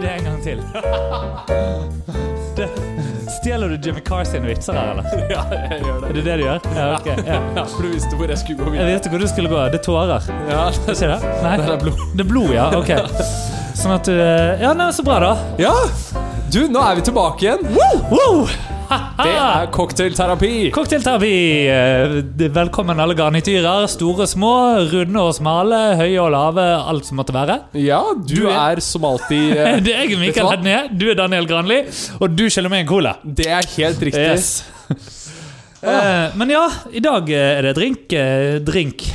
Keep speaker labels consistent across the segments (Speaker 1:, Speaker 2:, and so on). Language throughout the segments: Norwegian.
Speaker 1: det en gang til. Det, stjeler du Jimmy Carr sine vitser her, eller?
Speaker 2: Ja, jeg gjør
Speaker 1: Er
Speaker 2: det.
Speaker 1: det det du gjør? Ja, ok. Ja.
Speaker 2: Ja, for du visste hvor jeg skulle
Speaker 1: Jeg
Speaker 2: gå videre.
Speaker 1: visste hvor du skulle gå. Det er tårer.
Speaker 2: Ja, det
Speaker 1: Ikke det? Nei.
Speaker 2: det er blod.
Speaker 1: Det er blod, ja. Ok. Sånn at du Ja, nei, så bra, da.
Speaker 2: Ja! Du, nå er vi tilbake igjen.
Speaker 1: Woo!
Speaker 2: Det er cocktailterapi.
Speaker 1: Cocktailterapi! Eh, Velkommen alle garnityrer. Store, små, runde og smale, høye og lave, alt som måtte være.
Speaker 2: Ja, du,
Speaker 1: Du er-
Speaker 2: er som alltid eh,
Speaker 1: Det er jeg, Mikael
Speaker 2: Vet du
Speaker 1: Hednie. Du er Daniel Granli. Og du skylder meg en cola.
Speaker 2: Det er helt riktig.
Speaker 1: Yes. Eh, Men ja, i dag eh, er det drink. eh, Drink.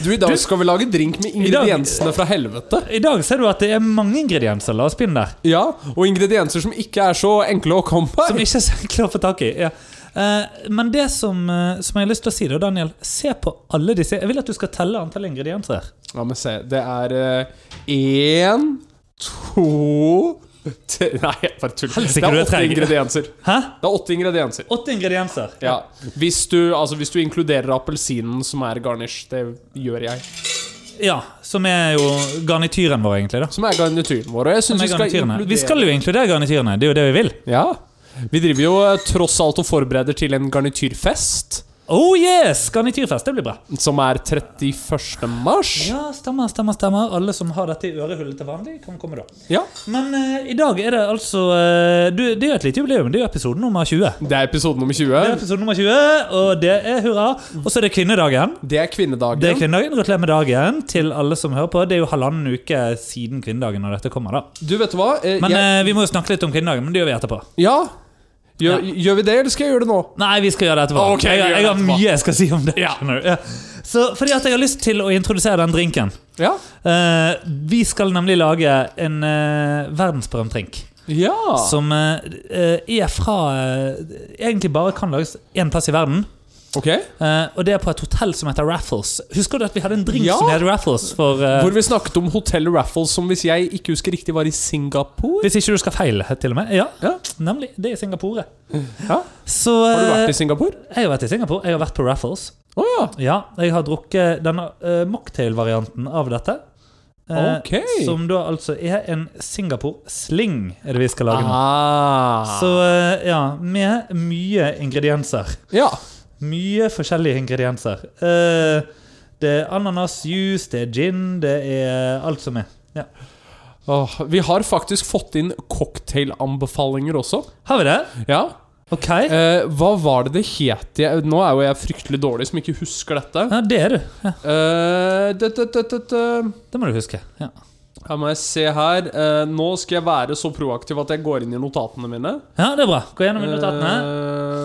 Speaker 2: Du, I dag skal vi lage drink med
Speaker 1: dag-
Speaker 2: ingrediensene fra helvete.
Speaker 1: I dag ser du at det er mange ingredienser. La oss begynne der.
Speaker 2: Ja, Og ingredienser som ikke er så enkle å komme
Speaker 1: Som
Speaker 2: på.
Speaker 1: ikke er så enkle å få tak i. Ja. Eh, Men det som, eh, som jeg har lyst til å si, da, Daniel Se på alle disse. Jeg vil at du skal telle antall ingredienser. her.
Speaker 2: La meg se. Det er én, to tre. Nei, jeg bare tuller.
Speaker 1: Helsike,
Speaker 2: Det
Speaker 1: du
Speaker 2: er
Speaker 1: er
Speaker 2: åtte
Speaker 1: treg.
Speaker 2: ingredienser.
Speaker 1: Hæ?
Speaker 2: Det er åtte ingredienser.
Speaker 1: Åtte ingredienser.
Speaker 2: Ja. Hvis du, altså, hvis du inkluderer appelsinen som er garnish, det gjør jeg.
Speaker 1: Ja, Som er jo garnityren vår, egentlig. da
Speaker 2: Som er garnityren vår. Og jeg
Speaker 1: Som
Speaker 2: synes
Speaker 1: er
Speaker 2: vi skal
Speaker 1: garnityrene.
Speaker 2: inkludere
Speaker 1: Vi skal jo inkludere garnityrene. Det er jo det vi vil.
Speaker 2: Ja. Vi driver jo eh, tross alt og forbereder til en garnityrfest,
Speaker 1: Oh yes! Garnityrfest. Det blir bra.
Speaker 2: som er 31. mars.
Speaker 1: Ja, stemmer, stemmer, stemmer. Alle som har dette i ørehullet til vanlig, kan komme da.
Speaker 2: Ja.
Speaker 1: Men eh, i dag er det altså eh, du, Det er jo et lite jubileum. Det er jo episode nummer 20.
Speaker 2: Det er episode nummer
Speaker 1: Det er
Speaker 2: 20.
Speaker 1: episode nummer 20, og det er hurra. Og så er det kvinnedagen.
Speaker 2: Det er kvinnedagen.
Speaker 1: Det er kvinnedagen, Gratulerer med dagen til alle som hører på. Det er jo halvannen uke siden kvinnedagen når dette kommer. da
Speaker 2: Du, vet du hva? Eh,
Speaker 1: Men
Speaker 2: jeg,
Speaker 1: eh, vi må jo snakke litt om kvinnedagen, men det gjør vi etterpå.
Speaker 2: ja.
Speaker 1: ja.
Speaker 2: Gjør, gjør vi det, eller skal jeg gjøre det nå?
Speaker 1: Nei, vi skal gjøre det etterpå.
Speaker 2: Ah, Ok, vi
Speaker 1: jeg,
Speaker 2: gjør
Speaker 1: jeg
Speaker 2: det
Speaker 1: har
Speaker 2: etterpå.
Speaker 1: mye jeg skal si om det. skjønner du. Ja. Så, fordi at jeg har lyst til å introdusere den drinken.
Speaker 2: Ja.
Speaker 1: Eh, vi skal nemlig lage en uh, verdensberømt drink.
Speaker 2: Ja.
Speaker 1: Som eh, eh, er fra eh, Egentlig bare kan lages én plass i verden.
Speaker 2: Ok.
Speaker 1: eh, og det er på et hotell som heter Raffles. Husker du at vi hadde en drink
Speaker 2: Ja.
Speaker 1: som het Raffles? For, eh,
Speaker 2: Hvor vi snakket om Hotell Raffles, som hvis jeg ikke husker riktig, var i Singapore.
Speaker 1: hvis ikke du skal feile, til og med. Ja,
Speaker 2: Ja.
Speaker 1: nemlig. Det er i Singapore.
Speaker 2: Ja.
Speaker 1: Så
Speaker 2: Har du
Speaker 1: eh,
Speaker 2: vært i Singapore?
Speaker 1: jeg har vært i Singapore. Jeg har vært på Raffles.
Speaker 2: Å ja.
Speaker 1: Ja, jeg har drukket denne eh, mocktail-varianten av dette. Eh,
Speaker 2: Ok.
Speaker 1: Som da altså er en Singapore sling, er det vi skal lage nå.
Speaker 2: Ah.
Speaker 1: Så eh, ja, med mye ingredienser.
Speaker 2: Ja.
Speaker 1: Mye forskjellige ingredienser. Eh, det er ananasjuice, det er gin, det er alt som er. Ja.
Speaker 2: Åh, vi har faktisk fått inn cocktailanbefalinger også.
Speaker 1: Har vi det?
Speaker 2: Ja.
Speaker 1: Ok.
Speaker 2: Eh, hva var det det het jeg Nå er jo jeg fryktelig dårlig som ikke husker dette.
Speaker 1: Ja, det er du. Ja,
Speaker 2: Eh, det, det, det, det, det.
Speaker 1: det må du huske. Ja.
Speaker 2: Her må jeg se her. Eh, nå skal jeg være så proaktiv at jeg går inn i notatene mine.
Speaker 1: ja, det er bra. Gå gjennom notatene.
Speaker 2: Eh,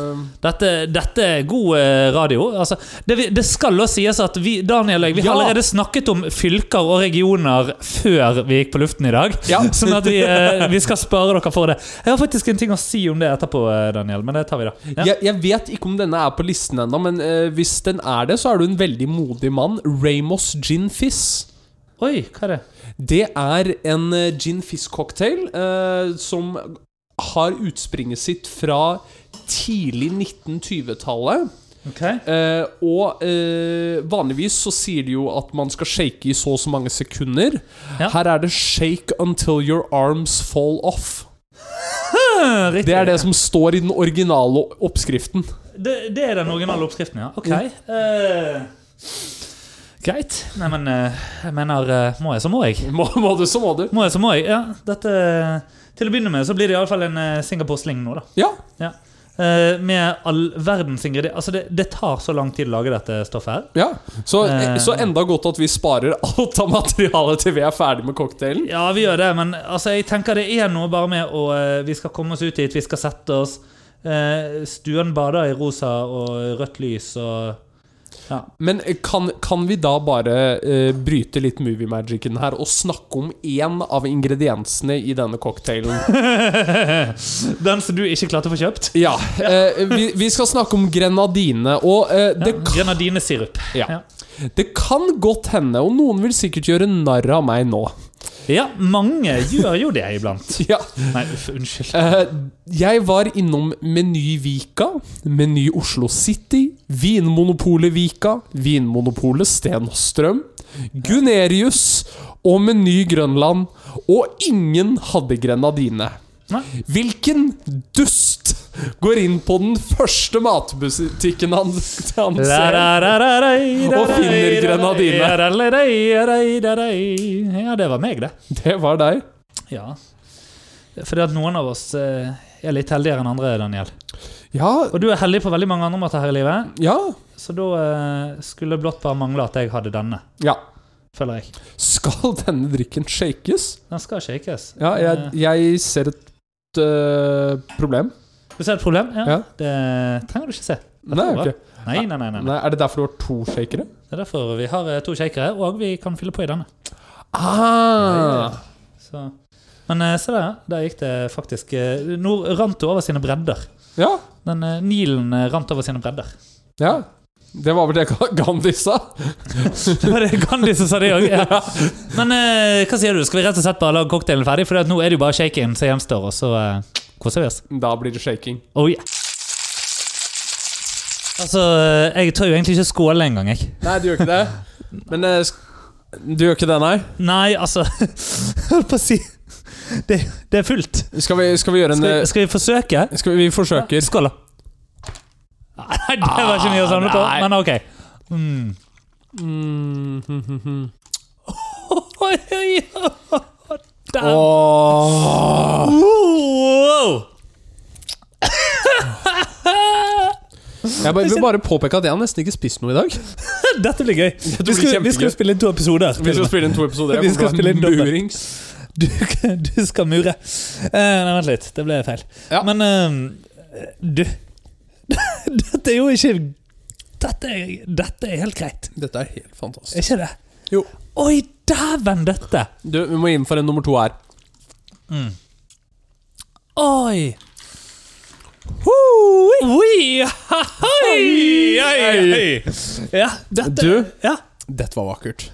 Speaker 1: Dette, dette er god eh, radio. Altså, det, vi- det skal også sies at vi, Daniel og jeg, vi har
Speaker 2: Ja.
Speaker 1: allerede snakket om fylker og regioner før vi gikk på luften i dag.
Speaker 2: Ja.
Speaker 1: Sånn at vi, eh, vi skal spare dere for det. Jeg har faktisk en ting å si om det etterpå, eh, Daniel, men det tar vi da. Ja.
Speaker 2: jeg, jeg vet ikke om denne er på listen ennå, men eh, hvis den er det, så er du en veldig modig mann. Ramos gin fizz.
Speaker 1: Oi, hva er det?
Speaker 2: Det er en eh, gin fizz-cocktail eh, som har utspringet sitt fra tidlig 1920-tallet.
Speaker 1: Ok.
Speaker 2: Eh, og eh, vanligvis så sier de jo at man skal shake i så og så mange sekunder.
Speaker 1: Ja.
Speaker 2: Her er det 'shake until your arms fall off'.
Speaker 1: Eh, Riktig.
Speaker 2: Det er det som står i den originale oppskriften.
Speaker 1: Det, det er den originale oppskriften, ja. Ok. Eh, greit. Nei, men eh, jeg mener eh, Må jeg, så må jeg.
Speaker 2: Må, må du, så må du.
Speaker 1: Må jeg, så må jeg. Ja, dette eh, Til å begynne med så blir det iallfall en eh, Singapore-sling nå, da.
Speaker 2: Ja.
Speaker 1: Ja. Eh, med all verdens ingredienser Altså, det, det tar så lang tid å lage dette stoffet her.
Speaker 2: ja. Så,
Speaker 1: Eh.
Speaker 2: så enda godt at vi sparer alt av materialet til vi er ferdig med cocktailen.
Speaker 1: Ja, vi gjør det, men altså, jeg tenker det er noe bare med å eh, Vi skal komme oss ut dit, vi skal sette oss. Eh, stuen bader i rosa og rødt lys og ja.
Speaker 2: Men eh, kan, kan vi da bare eh, bryte litt movie magicen her og snakke om én av ingrediensene i denne cocktailen?
Speaker 1: Den som du ikke klarte å få kjøpt?
Speaker 2: Ja. eh, vi, vi skal snakke om grenadine, og eh, det,
Speaker 1: Ja,
Speaker 2: kan,
Speaker 1: Grenadinesirup.
Speaker 2: ja. det kan godt hende, og noen vil sikkert gjøre narr av meg nå
Speaker 1: Ja, mange gjør jo det iblant.
Speaker 2: Ja.
Speaker 1: Nei, uff, unnskyld.
Speaker 2: Eh, jeg var innom Meny Vika, Meny Oslo City, Vinmonopolet Vika, Vinmonopolet Sten og Strøm, Gunerius og Meny Grønland, og ingen hadde grenadine.
Speaker 1: Nei.
Speaker 2: Hvilken dust går inn på den første matbutikken han, han ser?
Speaker 1: Og
Speaker 2: finner grenadine.
Speaker 1: Ja, det var meg, det.
Speaker 2: Det var deg.
Speaker 1: Ja. Fordi at noen av oss eh, er litt heldigere enn andre, Daniel.
Speaker 2: Ja,
Speaker 1: Og du er heldig på veldig mange andre måter her i livet,
Speaker 2: ja,
Speaker 1: så da eh, skulle det blott bare mangle at jeg hadde denne,
Speaker 2: ja.
Speaker 1: føler jeg.
Speaker 2: Skal denne drikken shakes?
Speaker 1: Den skal shakes.
Speaker 2: Ja, jeg,
Speaker 1: Eh,
Speaker 2: jeg ser et øh, problem.
Speaker 1: Eh, Du ser et problem? Ja.
Speaker 2: Ja.
Speaker 1: Det trenger du ikke se.
Speaker 2: Nei,
Speaker 1: går bra.
Speaker 2: ok.
Speaker 1: Nei, nei, nei. nei.
Speaker 2: Nei, er det derfor du har to shakere?
Speaker 1: Det er derfor vi har eh, to shakere, og vi kan fylle på i denne.
Speaker 2: Ah,
Speaker 1: Så. Men eh, se der, der gikk det faktisk eh, Nå rant det over sine bredder.
Speaker 2: ja,
Speaker 1: Den eh, Nilen eh, rant over sine bredder.
Speaker 2: ja. Det var vel det Ga- Gandhi sa.
Speaker 1: Det var det Gandhi som sa det òg. Ja. Men eh, hva sier du? Skal vi rett og slett bare lage cocktailen ferdig? For nå er det jo bare shake-in som gjenstår, og så eh, koser vi oss.
Speaker 2: Da blir det shaking.
Speaker 1: Oh, yeah. Altså, eh, jeg tør jo egentlig ikke skåle engang, jeg.
Speaker 2: Nei, du gjør ikke det. Men øh, sk- du gjør ikke det, nei?
Speaker 1: Nei, altså Holdt på å si Det, det er fullt.
Speaker 2: Skal vi, skal vi gjøre en
Speaker 1: Skal vi,
Speaker 2: øh,
Speaker 1: skal vi forsøke?
Speaker 2: skal vi, vi forsøker.
Speaker 1: Skål, da. Nei, det var ikke mye å samle på,
Speaker 2: Ah, nei.
Speaker 1: men ok. Mm.
Speaker 2: Mm, hm, hm, hm.
Speaker 1: Oi, oi, oi. Der.
Speaker 2: Åh.
Speaker 1: Wow.
Speaker 2: Jeg bare, vil bare påpeke at jeg har nesten ikke spist noe i dag.
Speaker 1: Dette blir gøy.
Speaker 2: blir
Speaker 1: Vi skal, vi skal
Speaker 2: kjempegøy.
Speaker 1: spille inn to episoder.
Speaker 2: Vi skal spille inn to episoder. Jeg
Speaker 1: Vi skal
Speaker 2: kommer til å
Speaker 1: spille inn
Speaker 2: være
Speaker 1: dobbelt.
Speaker 2: murings.
Speaker 1: Du, du skal mure. Eh, nei, vent litt. Det ble feil.
Speaker 2: Ja.
Speaker 1: Men eh, du Dette er jo ikke dette er, dette er helt greit.
Speaker 2: Dette er helt fantastisk.
Speaker 1: Er ikke det?
Speaker 2: Jo.
Speaker 1: Oi, dæven, dette!
Speaker 2: Du, vi må inn for en nummer to her.
Speaker 1: Oi! Hui! Hui! Ha, Hoi! Hei, hei. Ja, dette
Speaker 2: Du?
Speaker 1: Ja.
Speaker 2: Dette var vakkert.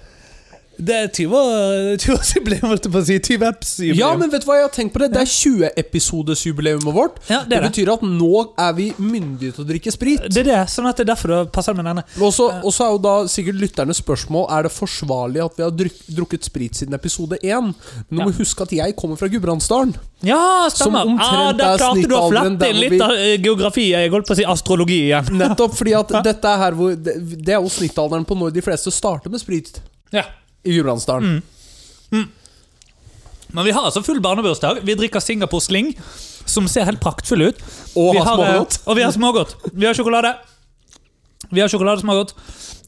Speaker 1: Det er 20 år- 20-årsjubileum, holdt jeg på å si. 20 eps-jubileum.
Speaker 2: Ja, men vet du hva jeg har tenkt på det? Det er 20-episodesjubileumet vårt.
Speaker 1: Ja, det er det.
Speaker 2: betyr at nå er vi myndige til å drikke sprit.
Speaker 1: Det er det, sånn at det er derfor det passer med denne.
Speaker 2: Og så og så er jo da sikkert lytternes spørsmål Er det forsvarlig at vi har druk, drukket sprit siden episode 1. Men du må
Speaker 1: Ja.
Speaker 2: huske at jeg kommer fra Gudbrandsdalen.
Speaker 1: Ja,
Speaker 2: Som
Speaker 1: stemmer!
Speaker 2: omtrent
Speaker 1: Ah, der
Speaker 2: er
Speaker 1: klarte du å flette
Speaker 2: snittalderen
Speaker 1: inn
Speaker 2: der hvor
Speaker 1: litt
Speaker 2: vi-
Speaker 1: av eh, geografi. Jeg holdt på å si astrologi igjen.
Speaker 2: Nettopp fordi at dette er her hvor Det det er jo snittalderen på når de fleste starter med sprit
Speaker 1: Ja.
Speaker 2: i Gudbrandsdalen.
Speaker 1: Mm. Men vi har altså full barnebursdag. Vi drikker Singapore Sling, som ser helt praktfull ut.
Speaker 2: Og
Speaker 1: Vi
Speaker 2: har
Speaker 1: eh,
Speaker 2: smågodt.
Speaker 1: Og vi har smågodt. Vi har sjokolade. Vi har sjokoladesmågodt.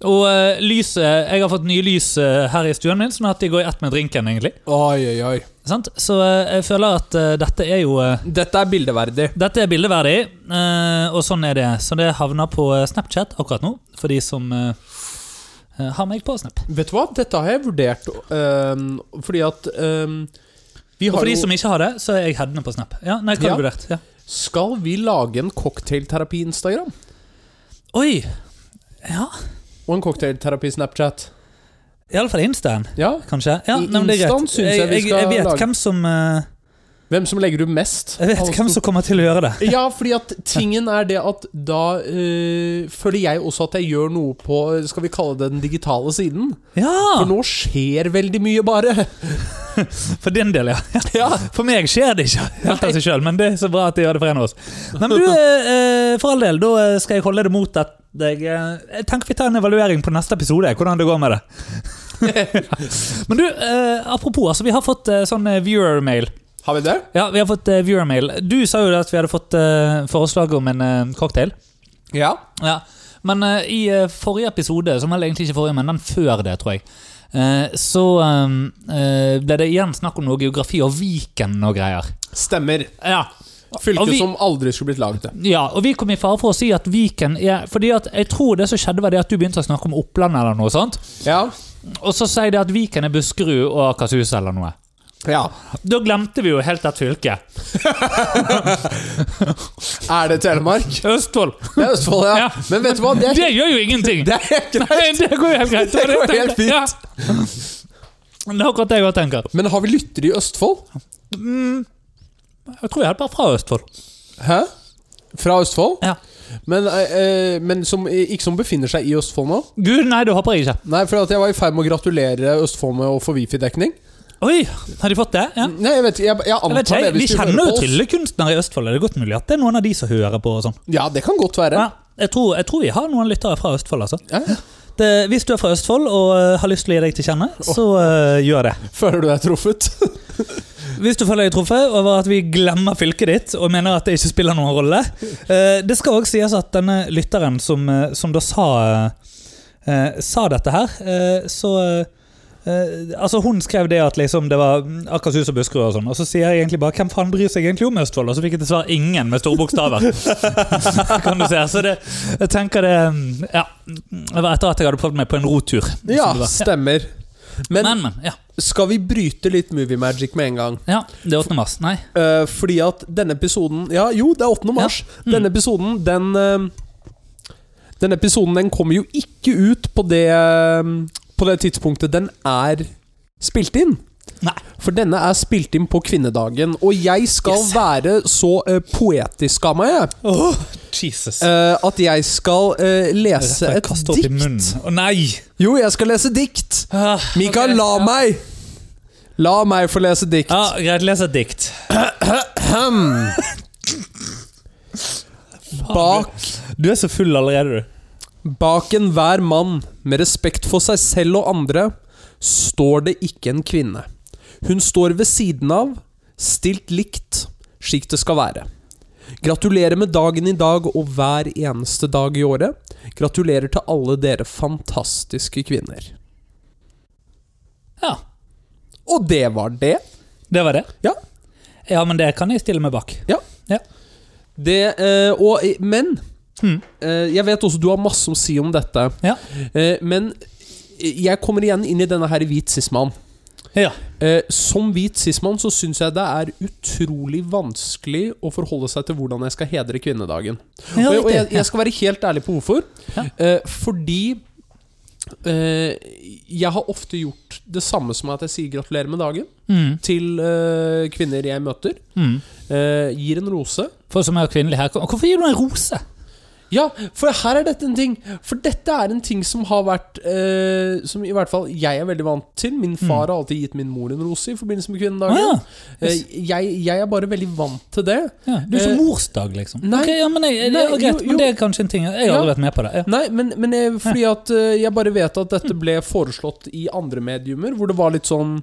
Speaker 1: Og eh, lyset Jeg har fått nye lys eh, her i stuen min, sånn at de går i ett med drinken, egentlig.
Speaker 2: Oi, oi, oi.
Speaker 1: Sant? Så eh, jeg føler at eh, dette er jo eh,
Speaker 2: Dette er bildeverdig.
Speaker 1: Dette er bildeverdig, eh, og sånn er det. Så det havner på eh, Snapchat akkurat nå, for de som eh, eh, har meg på Snap.
Speaker 2: Vet du hva? Dette har jeg vurdert øhm, fordi at øhm, vi
Speaker 1: Og
Speaker 2: har
Speaker 1: for de
Speaker 2: jo
Speaker 1: som ikke har det, så er jeg headende på Snap. Ja, nei, hva har
Speaker 2: Ja.
Speaker 1: du vurdert? Ja.
Speaker 2: Skal vi lage en cocktailterapi-Instagram?
Speaker 1: Oi! Ja,
Speaker 2: Og en cocktailterapi-Snapchat?
Speaker 1: iallfall Instaen,
Speaker 2: Ja?
Speaker 1: kanskje. Ja,
Speaker 2: I
Speaker 1: nei, men det er
Speaker 2: Instaen
Speaker 1: greit.
Speaker 2: syns
Speaker 1: Jeg,
Speaker 2: jeg vi
Speaker 1: jeg,
Speaker 2: skal
Speaker 1: jeg vet
Speaker 2: lage-
Speaker 1: hvem som eh,
Speaker 2: Hvem som legger ut mest?
Speaker 1: Jeg vet
Speaker 2: Altså-
Speaker 1: hvem som kommer til å gjøre det.
Speaker 2: Ja, fordi at tingen er det at da øh, føler jeg også at jeg gjør noe på Skal vi kalle det den digitale siden? For
Speaker 1: Ja!
Speaker 2: nå skjer veldig mye, bare.
Speaker 1: For din del, ja.
Speaker 2: Ja.
Speaker 1: For meg skjer det ikke helt av seg sjøl, men det er så bra at de gjør det for en av oss. Nei, Men du, eh, eh, for all del, da eh, skal jeg holde det mot at jeg, eh, jeg tenker vi tar en evaluering på neste episode, hvordan det går med det. Men du, eh, apropos, altså, vi har fått eh, sånn eh, viewer-mail.
Speaker 2: Har vi det?
Speaker 1: Ja, vi har fått eh, viewer-mail. Du sa jo det at vi hadde fått eh, forslag om en eh, cocktail.
Speaker 2: Ja.
Speaker 1: Ja, men eh, i eh, forrige episode, som vel egentlig ikke forrige, men den før det, tror jeg, eh, så eh, eh, ble det igjen snakk om noe geografi og Viken og greier.
Speaker 2: Stemmer.
Speaker 1: Ja.
Speaker 2: Fylke
Speaker 1: Og vi-
Speaker 2: som aldri skulle blitt laget. det.
Speaker 1: ja, og vi kom i fare for å si at Viken er Fordi at jeg tror det som skjedde, var det at du begynte å snakke om Oppland eller noe sånt.
Speaker 2: Ja.
Speaker 1: Og så sier de at Viken er Buskerud og Akershus eller noe.
Speaker 2: ja.
Speaker 1: Da glemte vi jo helt et fylke.
Speaker 2: Er det Telemark?
Speaker 1: Østfold.
Speaker 2: Det er Østfold, ja.
Speaker 1: Ja.
Speaker 2: Men vet du hva? Det er,
Speaker 1: Det gjør jo ingenting!
Speaker 2: det er helt greit.
Speaker 1: Nei, det går jo helt greit.
Speaker 2: Det går
Speaker 1: var jeg
Speaker 2: helt
Speaker 1: tenkte. Ja. Det er akkurat det jeg òg tenker.
Speaker 2: Men har vi lyttere i Østfold?
Speaker 1: Jeg tror jeg er bare fra Østfold.
Speaker 2: Hæ? Fra Østfold?
Speaker 1: Ja.
Speaker 2: Men, eh, eh, men som, ikke som befinner seg i Østfold nå.
Speaker 1: Gud, nei, det håper jeg ikke.
Speaker 2: Nei, for at jeg var i ferd med å gratulere Østfold med å få wifi-dekning.
Speaker 1: Oi, har de fått det? Ja.
Speaker 2: Nei, jeg vet ikke. Jeg, jeg
Speaker 1: Jeg
Speaker 2: antar
Speaker 1: vet ikke,
Speaker 2: det.
Speaker 1: jeg, Vi
Speaker 2: hvis du hører
Speaker 1: kjenner
Speaker 2: på
Speaker 1: jo
Speaker 2: oss.
Speaker 1: tryllekunstnere i Østfold. Er det godt mulig at det er noen av de som hører på? og sånn?
Speaker 2: Ja, det kan godt være.
Speaker 1: Ja, jeg, tror, jeg tror vi har noen lyttere fra Østfold. altså.
Speaker 2: Ja. ja.
Speaker 1: Det, hvis du er fra Østfold og eh, har lyst til å gi deg til kjenne, så eh, gjør det.
Speaker 2: Føler du deg truffet?
Speaker 1: Hvis du føler deg truffet over at vi glemmer fylket ditt og mener at det ikke spiller noen rolle eh, Det skal også sies at denne lytteren som, eh, som da sa, eh, eh, sa dette her, eh, så eh, eh, altså Hun skrev det at liksom det var mm, Akershus og Buskerud, og sånn Og så sier jeg egentlig bare 'Hvem faen bryr seg egentlig om Østfold?' Og så fikk jeg til svar 'ingen' med store bokstaver. kan du se, Så det, jeg tenker det mm, Ja. Det var etter at jeg hadde prøvd meg på en rotur. som
Speaker 2: ja,
Speaker 1: det var.
Speaker 2: stemmer. Men,
Speaker 1: Men, men. Ja.
Speaker 2: skal vi bryte litt movie magic med en gang?
Speaker 1: ja. Det er 8. mars. Nei.
Speaker 2: Eh, fordi at denne episoden Ja, jo, det er 8. mars.
Speaker 1: Mm.
Speaker 2: Denne episoden, den eh, Denne episoden den kommer jo ikke ut på det eh, På det tidspunktet den er spilt inn.
Speaker 1: Nei.
Speaker 2: For denne er spilt inn på kvinnedagen, og jeg skal
Speaker 1: Yes.
Speaker 2: være så eh, poetisk av meg jeg,
Speaker 1: Åh, Jesus.
Speaker 2: eh, at jeg skal eh, lese
Speaker 1: Rett og slett
Speaker 2: et
Speaker 1: kastet opp i munnen.
Speaker 2: dikt.
Speaker 1: Å nei!
Speaker 2: Jo, jeg skal lese dikt!
Speaker 1: Ah,
Speaker 2: Mikael,
Speaker 1: ok.
Speaker 2: la meg! La meg få lese dikt.
Speaker 1: Ja, Greit, les et dikt.
Speaker 2: Bak
Speaker 1: Du er så full allerede, du.
Speaker 2: Bak enhver mann, med respekt for seg selv og andre, står det ikke en kvinne. Hun står ved siden av, stilt likt, slik det skal være. Gratulerer med dagen i dag og hver eneste dag i året. Gratulerer til alle dere fantastiske kvinner.
Speaker 1: Ja,
Speaker 2: Og det var det.
Speaker 1: det var det.
Speaker 2: Ja.
Speaker 1: Ja, men det kan jeg stille meg bak.
Speaker 2: Ja.
Speaker 1: Ja.
Speaker 2: Det, eh, og, men
Speaker 1: Hmm.
Speaker 2: eh, Jeg vet også du har masse å si om dette.
Speaker 1: Ja.
Speaker 2: Eh, men eh, jeg kommer igjen inn i denne her hvit sismann.
Speaker 1: Ja.
Speaker 2: Eh, som hvit sismann så syns jeg det er utrolig vanskelig å forholde seg til hvordan jeg skal hedre kvinnedagen.
Speaker 1: Ja,
Speaker 2: og jeg, og jeg,
Speaker 1: riktig.
Speaker 2: jeg skal være helt ærlig på hvorfor.
Speaker 1: Ja.
Speaker 2: Eh, fordi eh, jeg har ofte gjort det samme som at jeg sier gratulerer med dagen
Speaker 1: Mm,
Speaker 2: til eh, kvinner jeg møter.
Speaker 1: mm.
Speaker 2: Eh, gir en rose.
Speaker 1: For som er kvinnelig her Hvorfor gir du en rose?
Speaker 2: Ja, for her er dette en ting. For dette er en ting som har vært eh, Som i hvert fall jeg er veldig vant til. Min far har alltid gitt min mor en rose i forbindelse med kvinnedagen.
Speaker 1: Mm. Å, ja.
Speaker 2: Eh, jeg, jeg er bare veldig vant til det.
Speaker 1: Ja, du er som
Speaker 2: Eh,
Speaker 1: morsdag, liksom.
Speaker 2: nei.
Speaker 1: Ok, ja, men, jeg,
Speaker 2: Nei,
Speaker 1: ja, greit,
Speaker 2: jo, jo.
Speaker 1: men det er kanskje en ting Jeg har aldri vært med på det. Ja.
Speaker 2: Nei, men, men jeg, fordi at eh, jeg bare vet at dette ble foreslått i andre mediumer, hvor det var litt sånn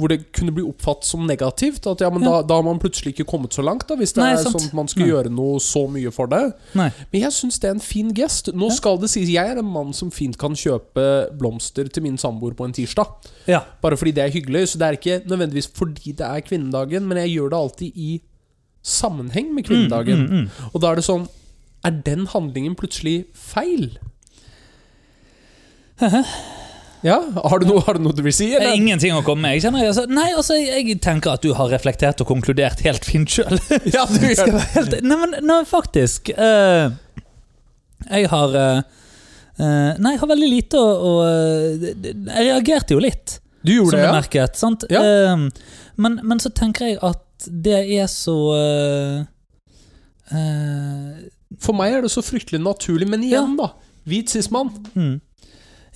Speaker 2: hvor det kunne bli oppfattet som negativt. At ja, men da, da har man plutselig ikke kommet så langt, da, hvis det
Speaker 1: Nei,
Speaker 2: er
Speaker 1: sant.
Speaker 2: sånn at man skal
Speaker 1: Nei.
Speaker 2: gjøre noe så mye for det.
Speaker 1: Nei.
Speaker 2: Men jeg syns det er en fin gest. Nå
Speaker 1: Ja.
Speaker 2: skal det sies, jeg er en mann som fint kan kjøpe blomster til min samboer på en tirsdag.
Speaker 1: Ja.
Speaker 2: Bare fordi det er hyggelig. Så det er ikke nødvendigvis fordi det er kvinnedagen, men jeg gjør det alltid i sammenheng med kvinnedagen.
Speaker 1: Mm, mm.
Speaker 2: Og da er det sånn Er den handlingen plutselig feil? Ja, har du noe, har du, noe du vil si?
Speaker 1: Det er
Speaker 2: Eller?
Speaker 1: ingenting å komme med. Jeg kjenner, altså, nei, altså, jeg tenker at du har reflektert og konkludert helt fint sjøl.
Speaker 2: Ja, du gjør
Speaker 1: Skal
Speaker 2: det.
Speaker 1: være helt Nei, men nei, faktisk eh, Jeg har eh, eh, Nei, jeg har veldig lite å, å eh, d- d- Jeg reagerte jo litt,
Speaker 2: Du gjorde
Speaker 1: som du
Speaker 2: det, ja?
Speaker 1: merket. Sant?
Speaker 2: Ja.
Speaker 1: Eh, men, men så tenker jeg at det er så eh, eh,
Speaker 2: For meg er det så fryktelig naturlig, men igjen, da. Hvit cis-mann,
Speaker 1: mm,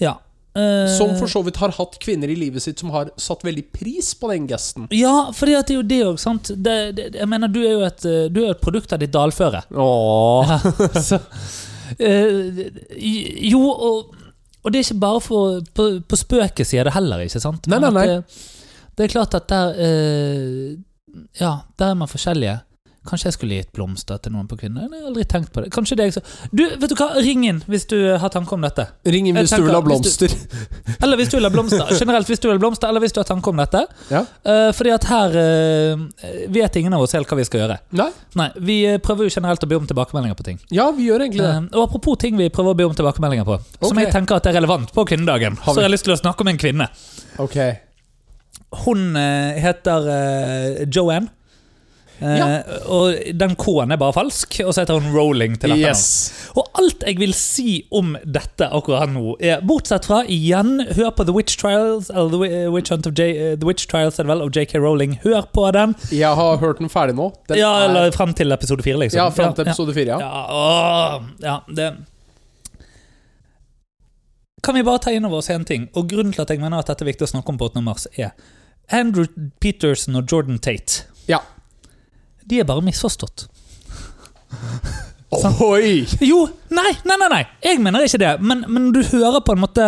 Speaker 1: Ja. eh,
Speaker 2: som for så vidt har hatt kvinner i livet sitt som har satt veldig pris på den gesten.
Speaker 1: ja, for det er jo det òg, sant. Det, det, jeg mener, du er jo et, eh, du er jo et produkt av ditt dalføre.
Speaker 2: Åh.
Speaker 1: Ja, så, eh, jo, og, og det er ikke bare for, på, på spøket sier det heller, ikke sant?
Speaker 2: Nei,
Speaker 1: Men
Speaker 2: nei,
Speaker 1: at
Speaker 2: nei.
Speaker 1: Det, det er klart at der eh, Ja, der er man forskjellige. Kanskje jeg skulle gitt blomster til noen på kvinner? Jeg har aldri tenkt på det. Kanskje det er jeg som Du, vet du hva, ring inn hvis du har tanke om dette.
Speaker 2: Ring inn
Speaker 1: Jeg
Speaker 2: hvis du vil
Speaker 1: tenker,
Speaker 2: ha
Speaker 1: hvis
Speaker 2: blomster.
Speaker 1: Eller hvis du vil ha blomster. Generelt hvis du vil ha blomster, eller hvis du har tanke om dette.
Speaker 2: Ja.
Speaker 1: Eh, fordi at her eh, vet ingen av oss helt hva vi skal gjøre.
Speaker 2: Nei?
Speaker 1: Nei, vi eh, prøver jo generelt å be om tilbakemeldinger på ting.
Speaker 2: Ja, vi gjør egentlig det.
Speaker 1: Eh, og Apropos ting vi prøver å be om tilbakemeldinger på, som
Speaker 2: Ok.
Speaker 1: jeg tenker at er relevant på kvinnedagen.
Speaker 2: Har vi-
Speaker 1: Så jeg har lyst til å snakke om en kvinne.
Speaker 2: Ok.
Speaker 1: Hun eh, heter eh, Joanne. Eh,
Speaker 2: Ja.
Speaker 1: Og den K-en er bare falsk, og så heter hun Rowling til etternavn.
Speaker 2: Yes.
Speaker 1: Og alt jeg vil si om dette akkurat nå, er bortsett fra igjen, hør på The Witch Trials eller The Wi- eh, Witch Hunt of J, eh, The Witch Trials er det vel, av J.K. Rowling. Hør på den.
Speaker 2: Jeg har hørt den ferdig nå. Den
Speaker 1: ja,
Speaker 2: er-
Speaker 1: Eller frem til episode fire, liksom.
Speaker 2: ja, fram til episode fire,
Speaker 1: Ja,
Speaker 2: ja.
Speaker 1: ja. åh, ja det Kan vi bare ta inn over oss en ting? Og grunnen til at jeg mener at dette er viktig å snakke om på 8. mars, er Andrew Peterson og Jordan Tate.
Speaker 2: ja.
Speaker 1: De er bare misforstått.
Speaker 2: Oi!
Speaker 1: Jo, nei, nei, nei, nei. jeg mener ikke det. Men, men du hører på en måte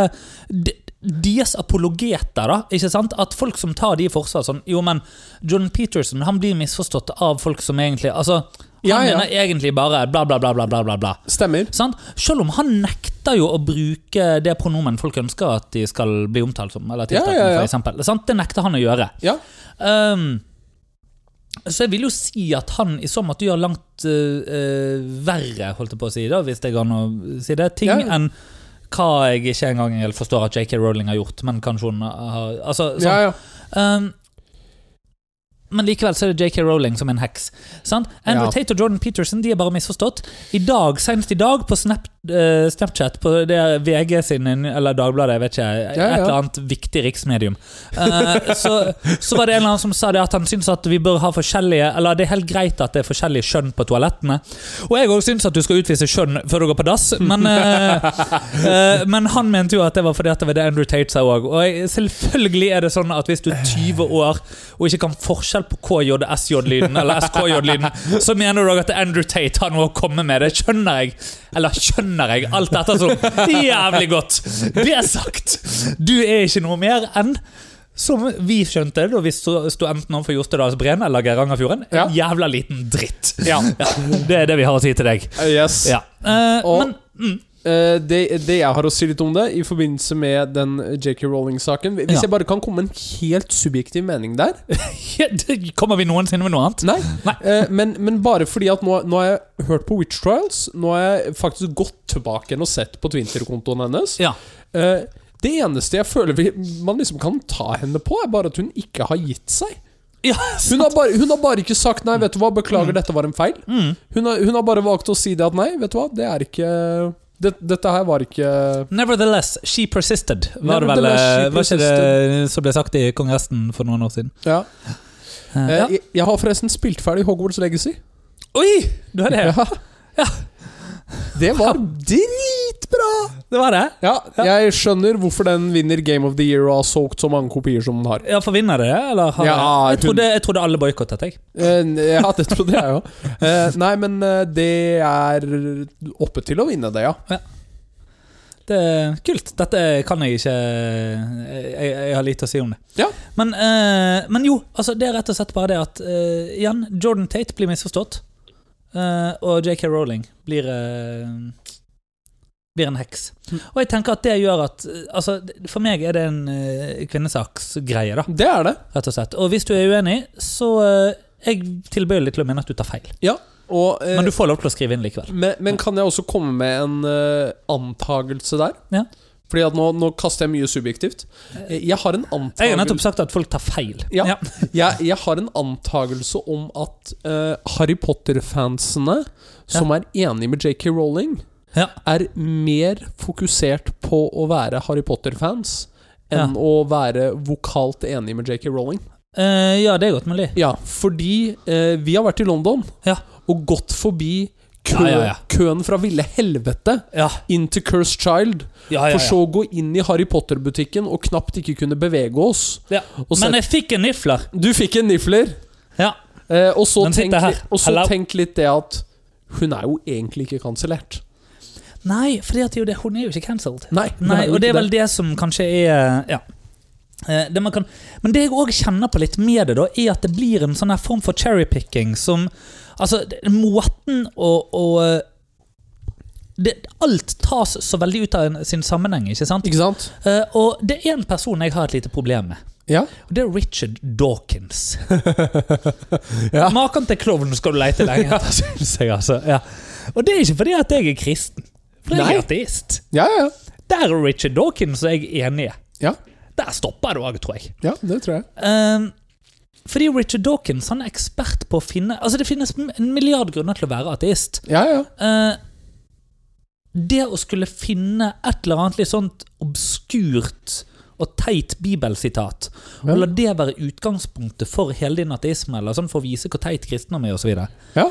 Speaker 1: de- deres apologeter, da. ikke sant? At folk som tar de i forsvar sånn Jo, men John Peterson han blir misforstått av folk som egentlig Altså, han
Speaker 2: Ja, ja.
Speaker 1: mener egentlig bare bla, bla, bla, bla, bla, bla. bla.
Speaker 2: Stemmer.
Speaker 1: Sant? Selv om han nekter jo å bruke det pronomen folk ønsker at de skal bli omtalt som. Eller
Speaker 2: Ja,
Speaker 1: tiltalt med,
Speaker 2: ja, ja.
Speaker 1: for eksempel. Sant? Det nekter han å gjøre.
Speaker 2: Ja.
Speaker 1: Ehm, så jeg vil jo si at han i så måte gjør langt eh, eh, verre, holdt jeg på å si, da, hvis det går an å si det, ting
Speaker 2: Ja.
Speaker 1: enn hva jeg ikke engang helt forstår at JK Rowling har gjort, men kanskje hun har altså, sånn.
Speaker 2: Ja, ja.
Speaker 1: Ehm, men likevel så er det JK Rowling som er en heks. Sant? Andrew
Speaker 2: Ja.
Speaker 1: Tate og Jordan Peterson de er bare misforstått. I dag, Senest i dag, på Snap, eh, Snapchat, på det VG sin Eller Dagbladet, jeg vet ikke.
Speaker 2: ja.
Speaker 1: Et eller annet viktig riksmedium. Eh, så, så var det en eller annen som sa det at han syns at vi bør ha forskjellige Eller det er helt greit at det er forskjellig kjønn på toalettene. Og jeg òg syns at du skal utvise kjønn før du går på dass, men, eh, eh, men han mente jo at det var fordi at det var det Andrew Tate sa òg. Og jeg, selvfølgelig er det sånn at hvis du er 20
Speaker 2: Eh.
Speaker 1: år og ikke kan forskjell på KJ og SJ-lyden, eller SKJ-lyden, så mener du òg at Andrew Tate har noe å komme med. Det skjønner jeg. Eller skjønner jeg alt dette som jævlig godt. Det sagt, du er ikke noe mer enn som vi skjønte da vi sto sto enten overfor Jostedalsbreen eller Geirangerfjorden.
Speaker 2: Ja.
Speaker 1: En jævla liten dritt.
Speaker 2: ja.
Speaker 1: Ja, det er det vi har å si til deg.
Speaker 2: Yes.
Speaker 1: Ja. Eh,
Speaker 2: Og-
Speaker 1: men mm,
Speaker 2: Eh, det, det jeg har å si litt om det, i forbindelse med den JK Rowling-saken Hvis
Speaker 1: Ja.
Speaker 2: jeg bare kan komme med en helt subjektiv mening der
Speaker 1: ja, det- kommer vi noensinne med noe annet?
Speaker 2: Nei.
Speaker 1: Nei.
Speaker 2: Eh, men, men bare fordi at nå, nå har jeg hørt på Witch Trials. Nå har jeg faktisk gått tilbake igjen og sett på Twitter-kontoen hennes.
Speaker 1: Ja.
Speaker 2: Eh, det eneste jeg føler vi, man liksom kan ta henne på, er bare at hun ikke har gitt seg.
Speaker 1: ja.
Speaker 2: Hun har bare, hun har bare ikke sagt 'nei, vet du hva, beklager, dette var en feil'.
Speaker 1: Mm.
Speaker 2: Hun har, hun har bare valgt å si det at 'nei, vet du hva, det er ikke det, Dette her var ikke
Speaker 1: Nevertheless, she persisted, var det vel
Speaker 2: Nevertheless, she
Speaker 1: eh, Var ikke det som ble sagt i Kongressen for noen år siden?
Speaker 2: Ja.
Speaker 1: Eh,
Speaker 2: Eh,
Speaker 1: ja.
Speaker 2: jeg, jeg har forresten spilt ferdig Hogwarts Legacy.
Speaker 1: Oi! Du har det?
Speaker 2: Ja. Det var dritbra!
Speaker 1: Det var det?
Speaker 2: Ja, jeg skjønner hvorfor den vinner Game of the Year og har solgt så mange kopier som den har.
Speaker 1: Ja, Forvinner det, eller? Har
Speaker 2: Ja,
Speaker 1: jeg, trodde, jeg trodde alle boikottet, jeg.
Speaker 2: Eh, ja, det trodde jeg jo. Eh, nei, men eh, det er oppe til å vinne det, ja.
Speaker 1: Det er kult. Dette kan jeg ikke Jeg, jeg har lite å si om det.
Speaker 2: Ja.
Speaker 1: Men, eh, men jo, altså det er rett og slett bare det at eh, igjen, Jordan Tate blir misforstått. eh, og JK Rowling blir eh, blir en heks.
Speaker 2: Mm.
Speaker 1: Og jeg tenker at det gjør at eh, altså, For meg er det en eh, kvinnesaksgreie, da,
Speaker 2: Det er det.
Speaker 1: rett og slett. Og hvis du er uenig, så eh, jeg tilbøyelig til å mene at du tar feil.
Speaker 2: Og, eh,
Speaker 1: Men du får lov til å skrive inn likevel.
Speaker 2: men, men kan jeg også komme med en eh, antagelse der?
Speaker 1: Ja.
Speaker 2: Fordi at nå, nå kaster jeg mye subjektivt. Eh, Jeg har en
Speaker 1: Jeg har
Speaker 2: antagelse,
Speaker 1: nettopp sagt at folk tar feil.
Speaker 2: Ja. jeg, jeg har en antagelse om at eh, Harry Potter-fansene som er enige med JK Rowling,
Speaker 1: Ja.
Speaker 2: er mer fokusert på å være Harry Potter-fans
Speaker 1: Ja.
Speaker 2: enn å være vokalt enig med JK Rowling.
Speaker 1: Eh, ja, det er godt mulig.
Speaker 2: Ja, fordi eh, vi har vært i London
Speaker 1: Ja.
Speaker 2: og gått forbi kø,
Speaker 1: Ja, ja, ja.
Speaker 2: køen fra Ville Helvete
Speaker 1: Ja,
Speaker 2: inn til Cursed Child,
Speaker 1: ja, ja, ja.
Speaker 2: for så å gå inn i Harry Potter-butikken og knapt ikke kunne bevege oss.
Speaker 1: Ja.
Speaker 2: Og så,
Speaker 1: Men jeg fikk en nifler.
Speaker 2: du fikk en nifler,
Speaker 1: Ja.
Speaker 2: eh, og så,
Speaker 1: Den sitter
Speaker 2: tenk,
Speaker 1: her.
Speaker 2: og så
Speaker 1: Hello.
Speaker 2: tenk litt det at hun er jo egentlig ikke kansellert.
Speaker 1: Nei, for det er jo det, hun er jo ikke cancelled.
Speaker 2: Nei, hun
Speaker 1: Nei,
Speaker 2: jo
Speaker 1: og det
Speaker 2: ikke
Speaker 1: er vel det som kanskje er Ja. Eh, Det man kan, men det jeg òg kjenner på litt med det, da, er at det blir en sånn her form for cherrypicking som Altså, det- måten å, å eh, det, Alt tas så veldig ut av en, sin sammenheng, ikke sant?
Speaker 2: Ikke sant?
Speaker 1: Eh, og det er en person jeg har et lite problem med.
Speaker 2: Ja.
Speaker 1: Og det er Richard Dawkins.
Speaker 2: Ja.
Speaker 1: Maken til klovn skal du leite lenge etter, synes jeg. Altså. Ja. Og det er ikke fordi at jeg er kristen, for jeg
Speaker 2: Nei.
Speaker 1: er ateist.
Speaker 2: Ja, ja,
Speaker 1: Der er Richard Dawkins og jeg enige.
Speaker 2: ja.
Speaker 1: Der stopper det òg, tror jeg.
Speaker 2: Ja, det tror jeg.
Speaker 1: Ehm, Fordi Richard Dawkins han er ekspert på å finne Altså Det finnes m- en milliard grunner til å være ateist.
Speaker 2: Ja, ja.
Speaker 1: Eh, det å skulle finne et eller annet litt sånt obskurt og teit bibelsitat,
Speaker 2: Ja.
Speaker 1: og la det være utgangspunktet for hele din ateisme, eller sånn for å vise hvor teit kristendom er, osv.
Speaker 2: Ja.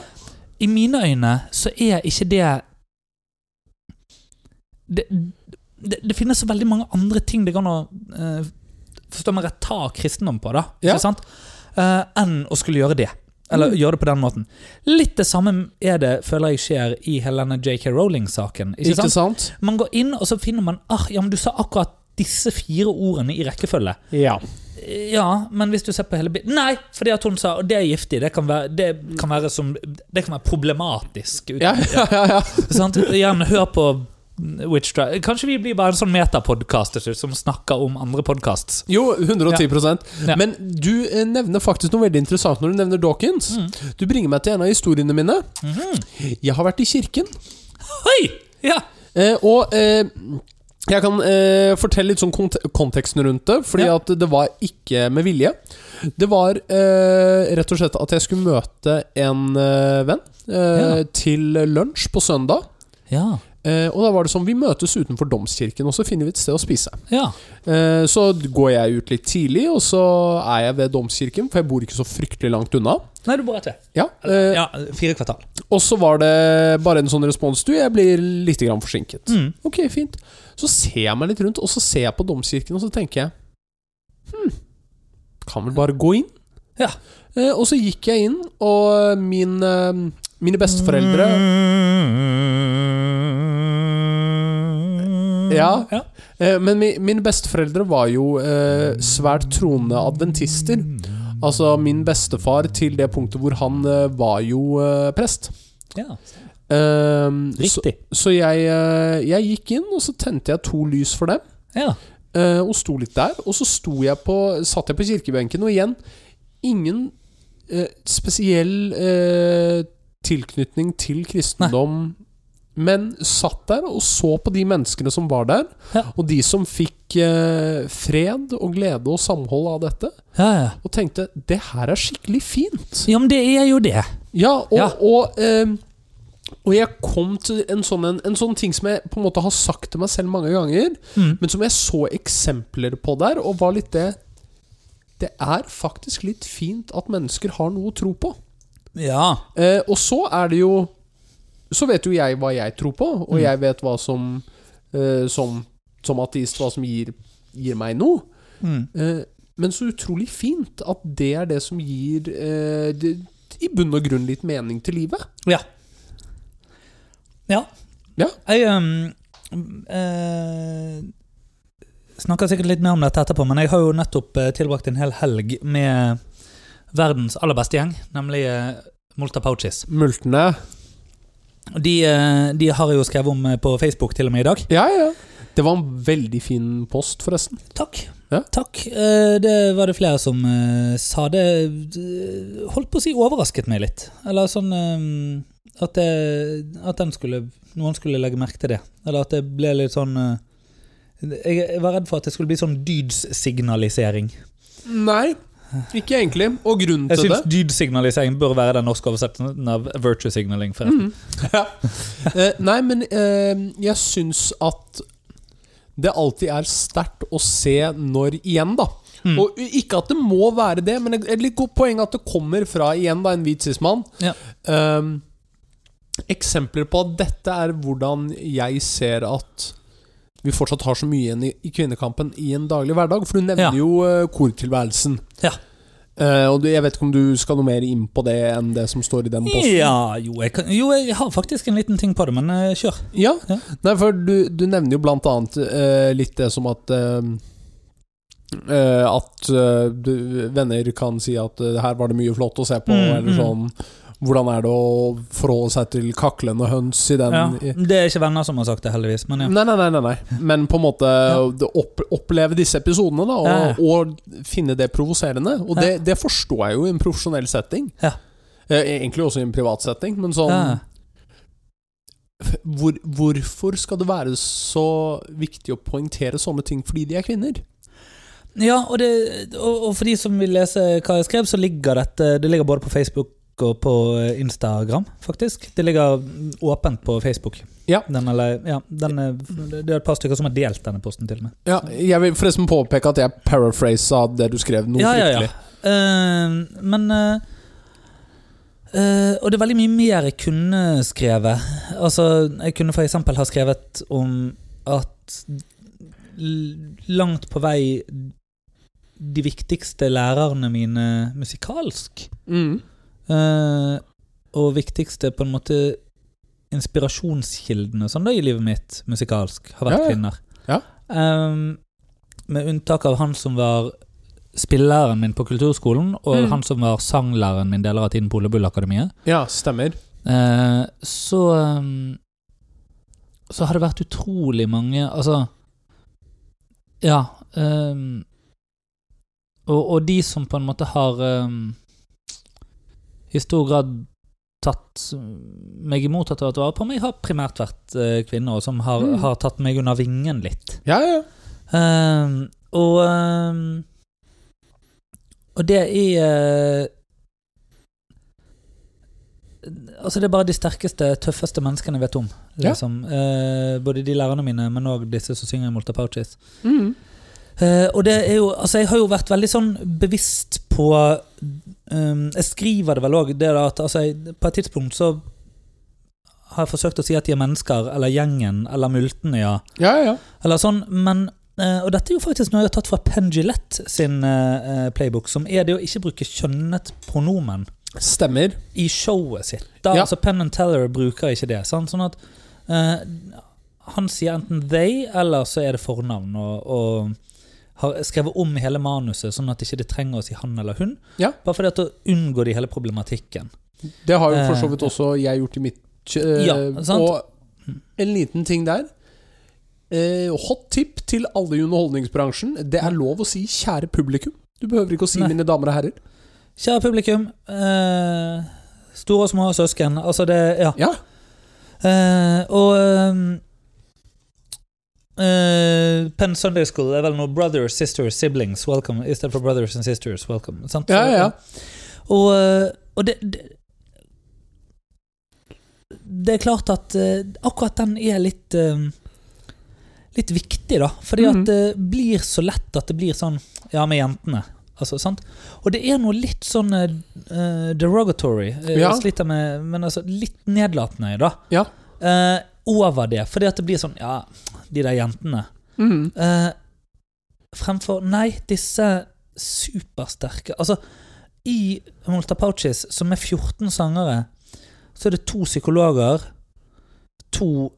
Speaker 1: I mine øyne så er ikke det det, det det finnes så veldig mange andre ting det kan å eh, Forstå meg rett, ta kristendom på, da.
Speaker 2: Ja. Mm.
Speaker 1: Ikke sant? Eh, enn å skulle gjøre det. Eller gjøre det på den måten. Litt det samme er det, føler jeg, skjer i hele denne JK Rowling-saken. Ikke sant?
Speaker 2: sant?
Speaker 1: Man går inn, og så finner man ah, ja, men du sa akkurat disse fire ordene i rekkefølge.
Speaker 2: Ja.
Speaker 1: Ja, men hvis du ser på hele bildet Nei, fordi at hun sa og det er giftig. Det kan være, det kan være, som, det kan være problematisk. Ut,
Speaker 2: Ja, ja, ja, ja.
Speaker 1: sant? Ja, men hør på Witch Trial. Kanskje vi blir bare en sånn metapodkast til slutt, som snakker om andre podkasts.
Speaker 2: Jo, 110
Speaker 1: Ja.
Speaker 2: Men du eh, nevner faktisk noe veldig interessant når du nevner Dawkins.
Speaker 1: Mm.
Speaker 2: Du bringer meg til en av historiene mine.
Speaker 1: Mhm.
Speaker 2: Jeg har vært i kirken,
Speaker 1: Oi! Ja.
Speaker 2: eh, og eh, jeg kan eh, fortelle litt sånn kont konteksten rundt det, fordi
Speaker 1: Ja.
Speaker 2: at det var ikke med vilje. Det var eh, rett og slett at jeg skulle møte en eh, venn eh,
Speaker 1: Ja.
Speaker 2: til lunsj på søndag.
Speaker 1: Ja.
Speaker 2: Eh, og da var det sånn, vi møtes utenfor domskirken, og så finner vi et sted å spise.
Speaker 1: ja.
Speaker 2: Eh, Så går jeg ut litt tidlig, og så er jeg ved domkirken, for jeg bor ikke så fryktelig langt unna.
Speaker 1: Nei, du bor rett ved.
Speaker 2: Ja, eh,
Speaker 1: Ja, fire kvartal.
Speaker 2: Og så var det bare en sånn respons. Du, jeg blir litt grann forsinket.
Speaker 1: Mm.
Speaker 2: Ok, fint. Så ser jeg meg litt rundt, og så ser jeg på domkirken, og så tenker jeg Hm, kan vel bare gå inn?
Speaker 1: Ja.
Speaker 2: Eh, Og så gikk jeg inn, og min, eh, mine besteforeldre Ja.
Speaker 1: ja.
Speaker 2: Eh, Men mi- mine besteforeldre var jo eh, svært troende adventister. Altså min bestefar til det punktet hvor han eh, var jo eh, prest.
Speaker 1: ja.
Speaker 2: Eh, så
Speaker 1: Riktig.
Speaker 2: så jeg, eh, jeg gikk inn, og så tente jeg to lys for dem.
Speaker 1: Ja.
Speaker 2: eh, og sto litt der. Og så sto jeg på, satt jeg på kirkebenken, og igjen ingen eh, spesiell eh, tilknytning til kristendom. Men satt der og så på de menneskene som var der,
Speaker 1: Ja.
Speaker 2: og de som fikk eh, fred og glede og samhold av dette,
Speaker 1: Ja, ja.
Speaker 2: og tenkte 'det her er skikkelig fint'.
Speaker 1: ja, men det er jo det.
Speaker 2: Ja, og,
Speaker 1: Ja.
Speaker 2: og ehm, og jeg kom til en sånn, en, en sånn ting som jeg på en måte har sagt til meg selv mange ganger,
Speaker 1: Mm.
Speaker 2: men som jeg så eksempler på der, og var litt det Det er faktisk litt fint at mennesker har noe å tro på.
Speaker 1: Ja.
Speaker 2: Eh, og så er det jo Så vet jo jeg hva jeg tror på, og jeg vet hva som eh, som, som ateist hva som gir, gir meg noe.
Speaker 1: Mm.
Speaker 2: Eh, men så utrolig fint at det er det som gir eh, det, i bunn og grunn litt mening til livet.
Speaker 1: Ja. Ja.
Speaker 2: Ja.
Speaker 1: Jeg ehm, eh, snakker sikkert litt mer om dette etterpå, men jeg har jo nettopp eh, tilbrakt en hel helg med verdens aller beste gjeng, nemlig eh, Molta Pouches.
Speaker 2: Multene.
Speaker 1: De, eh, de har jeg jo skrevet om eh, på Facebook til og med i dag.
Speaker 2: Ja, ja. Det var en veldig fin post, forresten.
Speaker 1: Takk.
Speaker 2: Ja.
Speaker 1: Takk. Eh, Det var det flere som eh, sa. Det eh, holdt på å si overrasket meg litt. Eller sånn eh, At, det, at den skulle, noen skulle legge merke til det. Eller at det ble litt sånn eh, Jeg jeg var redd for at det skulle bli sånn dydssignalisering.
Speaker 2: Nei, ikke egentlig. Og grunnen
Speaker 1: Jeg
Speaker 2: til
Speaker 1: syns
Speaker 2: det
Speaker 1: dydssignalisering bør være den norske oversettelsen av virtue signaling.
Speaker 2: Mm.
Speaker 1: forresten.
Speaker 2: Eh, Nei, men eh, jeg syns at det alltid er sterkt å se når igjen, da.
Speaker 1: Mm.
Speaker 2: Og ikke at det må være det, men et et litt godt poeng at det kommer fra igjen da en hvit sismann.
Speaker 1: Ja.
Speaker 2: Ehm, eksempler på at dette er hvordan jeg ser at vi fortsatt har så mye igjen i, i kvinnekampen i en daglig hverdag. For du nevner
Speaker 1: Ja.
Speaker 2: jo eh, kortilværelsen.
Speaker 1: Ja.
Speaker 2: Eh, og du, jeg vet ikke om du skal noe mer inn på det enn det som står i den posten?
Speaker 1: Ja, jo jeg, kan, jo, jeg har faktisk en liten ting på det, men eh, kjør.
Speaker 2: Ja.
Speaker 1: Ja.
Speaker 2: Nei, for du, du nevner jo blant annet eh, litt det som at eh, eh, At eh, du, venner kan si at eh, 'her var det mye flott å se på',
Speaker 1: Mm,
Speaker 2: eller
Speaker 1: mm.
Speaker 2: sånn. Hvordan er det å forholde seg til kaklende høns i den
Speaker 1: Ja.
Speaker 2: Um, i,
Speaker 1: Det er ikke venner som har sagt det, heldigvis. Men ja.
Speaker 2: Nei, nei, nei, nei, nei. Men på en måte det opp, oppleve disse episodene, da. Og,
Speaker 1: Ja, ja.
Speaker 2: og finne det provoserende. Og det, det forstår jeg jo i en profesjonell setting.
Speaker 1: Ja.
Speaker 2: Eh, Egentlig også i en privat setting, men sånn
Speaker 1: Ja.
Speaker 2: hvor, Hvorfor skal det være så viktig å poengtere sånne ting fordi de er kvinner?
Speaker 1: Ja, og, det, og, og for de som vil lese hva jeg skrev, så ligger dette Det ligger både på Facebook og på eh, Instagram, faktisk. Det ligger mm, åpent på Facebook.
Speaker 2: Ja.
Speaker 1: Den, eller, ja, den er, det er et par stykker som har delt denne posten, til og med.
Speaker 2: Ja, jeg vil forresten påpeke at jeg paraphrasa det du skrev, noe fryktelig.
Speaker 1: Eh, men eh, eh, Og det er veldig mye mer jeg kunne skrevet. Altså, jeg kunne f.eks. ha skrevet om at l- langt på vei de viktigste lærerne mine musikalsk,
Speaker 2: Mm.
Speaker 1: eh, og viktigste på en måte inspirasjonskildene sånn da i livet mitt musikalsk, har vært
Speaker 2: Ja, ja.
Speaker 1: kvinner.
Speaker 2: Ja.
Speaker 1: Ehm, med unntak av han som var spilleren min på kulturskolen, og
Speaker 2: Mm.
Speaker 1: han som var sanglæreren min deler av tiden på Ole Bull-akademiet,
Speaker 2: Ja, stemmer.
Speaker 1: eh, så ehm, Så har det vært utrolig mange Altså Ja. ehm, og, og de som på en måte har ehm, i stor grad tatt meg imot og tatt vare på meg, har primært vært eh, kvinner, og som har,
Speaker 2: Mm.
Speaker 1: har tatt meg under vingen litt.
Speaker 2: Ja, ja.
Speaker 1: Ehm, og ehm, Og det er eh, Altså Det er bare de sterkeste, tøffeste menneskene jeg vet om.
Speaker 2: Ja.
Speaker 1: Liksom. Eh, både de lærerne mine, men òg disse som synger i Molta Pouches.
Speaker 2: Mm.
Speaker 1: Eh, og det er jo, altså jeg har jo vært veldig sånn bevisst på ehm, Jeg skriver det vel òg, det da at altså jeg, på et tidspunkt så har jeg forsøkt å si at de er mennesker, eller gjengen, eller multene, ja.
Speaker 2: Ja, ja.
Speaker 1: Eller sånn, men eh, Og dette er jo faktisk noe jeg har tatt fra Penn Gillette sin eh, eh, playbook, som er det å ikke bruke kjønnet pronomen
Speaker 2: Stemmer.
Speaker 1: i showet sitt. Da,
Speaker 2: Ja.
Speaker 1: altså Penn and Teller bruker ikke det. Sant? Sånn at eh, han sier enten they, eller så er det fornavn. Og, og har skrevet om hele manuset, sånn at ikke det trenger å si han eller hun.
Speaker 2: Ja.
Speaker 1: Bare for det at å unngå de hele problematikken.
Speaker 2: Det har jo for så vidt
Speaker 1: Eh,
Speaker 2: også jeg gjort i mitt eh,
Speaker 1: Ja, sant.
Speaker 2: Og en liten ting der. Eh, hot tip til alle i underholdningsbransjen. Det er lov å si 'kjære publikum'. Du behøver ikke å si
Speaker 1: Nei.
Speaker 2: 'mine damer og herrer'.
Speaker 1: Kjære publikum. eh, store og små søsken. Altså det Ja.
Speaker 2: Ja,
Speaker 1: Eh, og ehm, eh, Penn Sunday School er vel noe 'brothers, sisters, siblings welcome' istedenfor 'brothers and sisters welcome'. Sant?
Speaker 2: Ja, ja, ja.
Speaker 1: Og, eh, og det, det Det er klart at eh, akkurat den er litt eh, Litt viktig, da. Fordi
Speaker 2: Mhm.
Speaker 1: at det blir så lett at det blir sånn Ja, med jentene. Altså, sant? Og det er noe litt sånn eh, derogatory. eh,
Speaker 2: Ja.
Speaker 1: Jeg sliter med Men altså, litt nedlatende i det.
Speaker 2: Ja.
Speaker 1: Eh, over det. Fordi at det blir sånn Ja, de der jentene.
Speaker 2: Mm.
Speaker 1: Eh, fremfor Nei, disse supersterke Altså, i Molta Pouches, som er 14 sangere, så er det to psykologer, to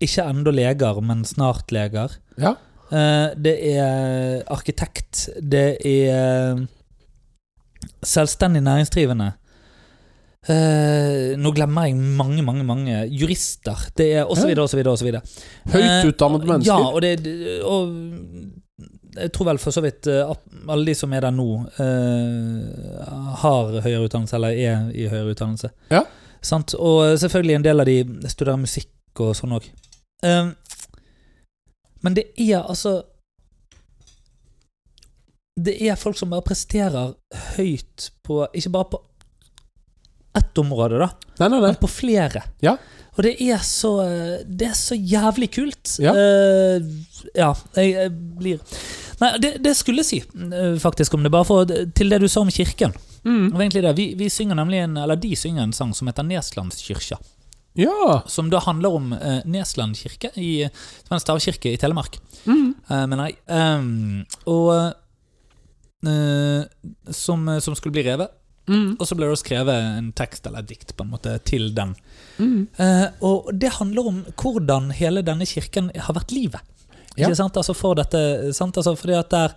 Speaker 1: ikke ennå leger, men snart leger.
Speaker 2: Ja.
Speaker 1: Eh, det er arkitekt, det er eh, selvstendig næringsdrivende. Eh, nå glemmer jeg mange, mange mange jurister. Det er osv., osv., osv. Eh,
Speaker 2: Høyt utdannet
Speaker 1: Ja,
Speaker 2: mennesker.
Speaker 1: og, det, og jeg tror vel for så vidt eh, at alle de som er der nå, eh, har høyere utdannelse, eller er i høyere utdannelse.
Speaker 2: Ja.
Speaker 1: Sant? Og eh, selvfølgelig en del av de studerer musikk og sånn òg. men det er altså Det er folk som bare presterer høyt på Ikke bare på ett område, da
Speaker 2: Nei, nei, nei.
Speaker 1: men på flere.
Speaker 2: Ja.
Speaker 1: Og det er så Det er så jævlig kult.
Speaker 2: Ja.
Speaker 1: Eh, ja jeg, jeg blir Nei, det, det skulle jeg si, eh, faktisk, om det bare for Til det du sa om kirken. Det
Speaker 2: Mm.
Speaker 1: var egentlig det. Vi, vi synger nemlig en, eller de synger en sang som heter Neslandskirka.
Speaker 2: Ja.
Speaker 1: Som da handler om eh, Nesland kirke, i, som er en stavkirke i Telemark.
Speaker 2: Mm.
Speaker 1: Eh, mener jeg. Ehm, og eh, som, som skulle bli revet.
Speaker 2: Mm.
Speaker 1: Og så ble det skrevet en tekst eller et dikt på en måte til den
Speaker 2: Mm.
Speaker 1: Eh, og det handler om hvordan hele denne kirken har vært livet. Ikke
Speaker 2: Ja.
Speaker 1: sant? Altså for dette, sant? Altså fordi at der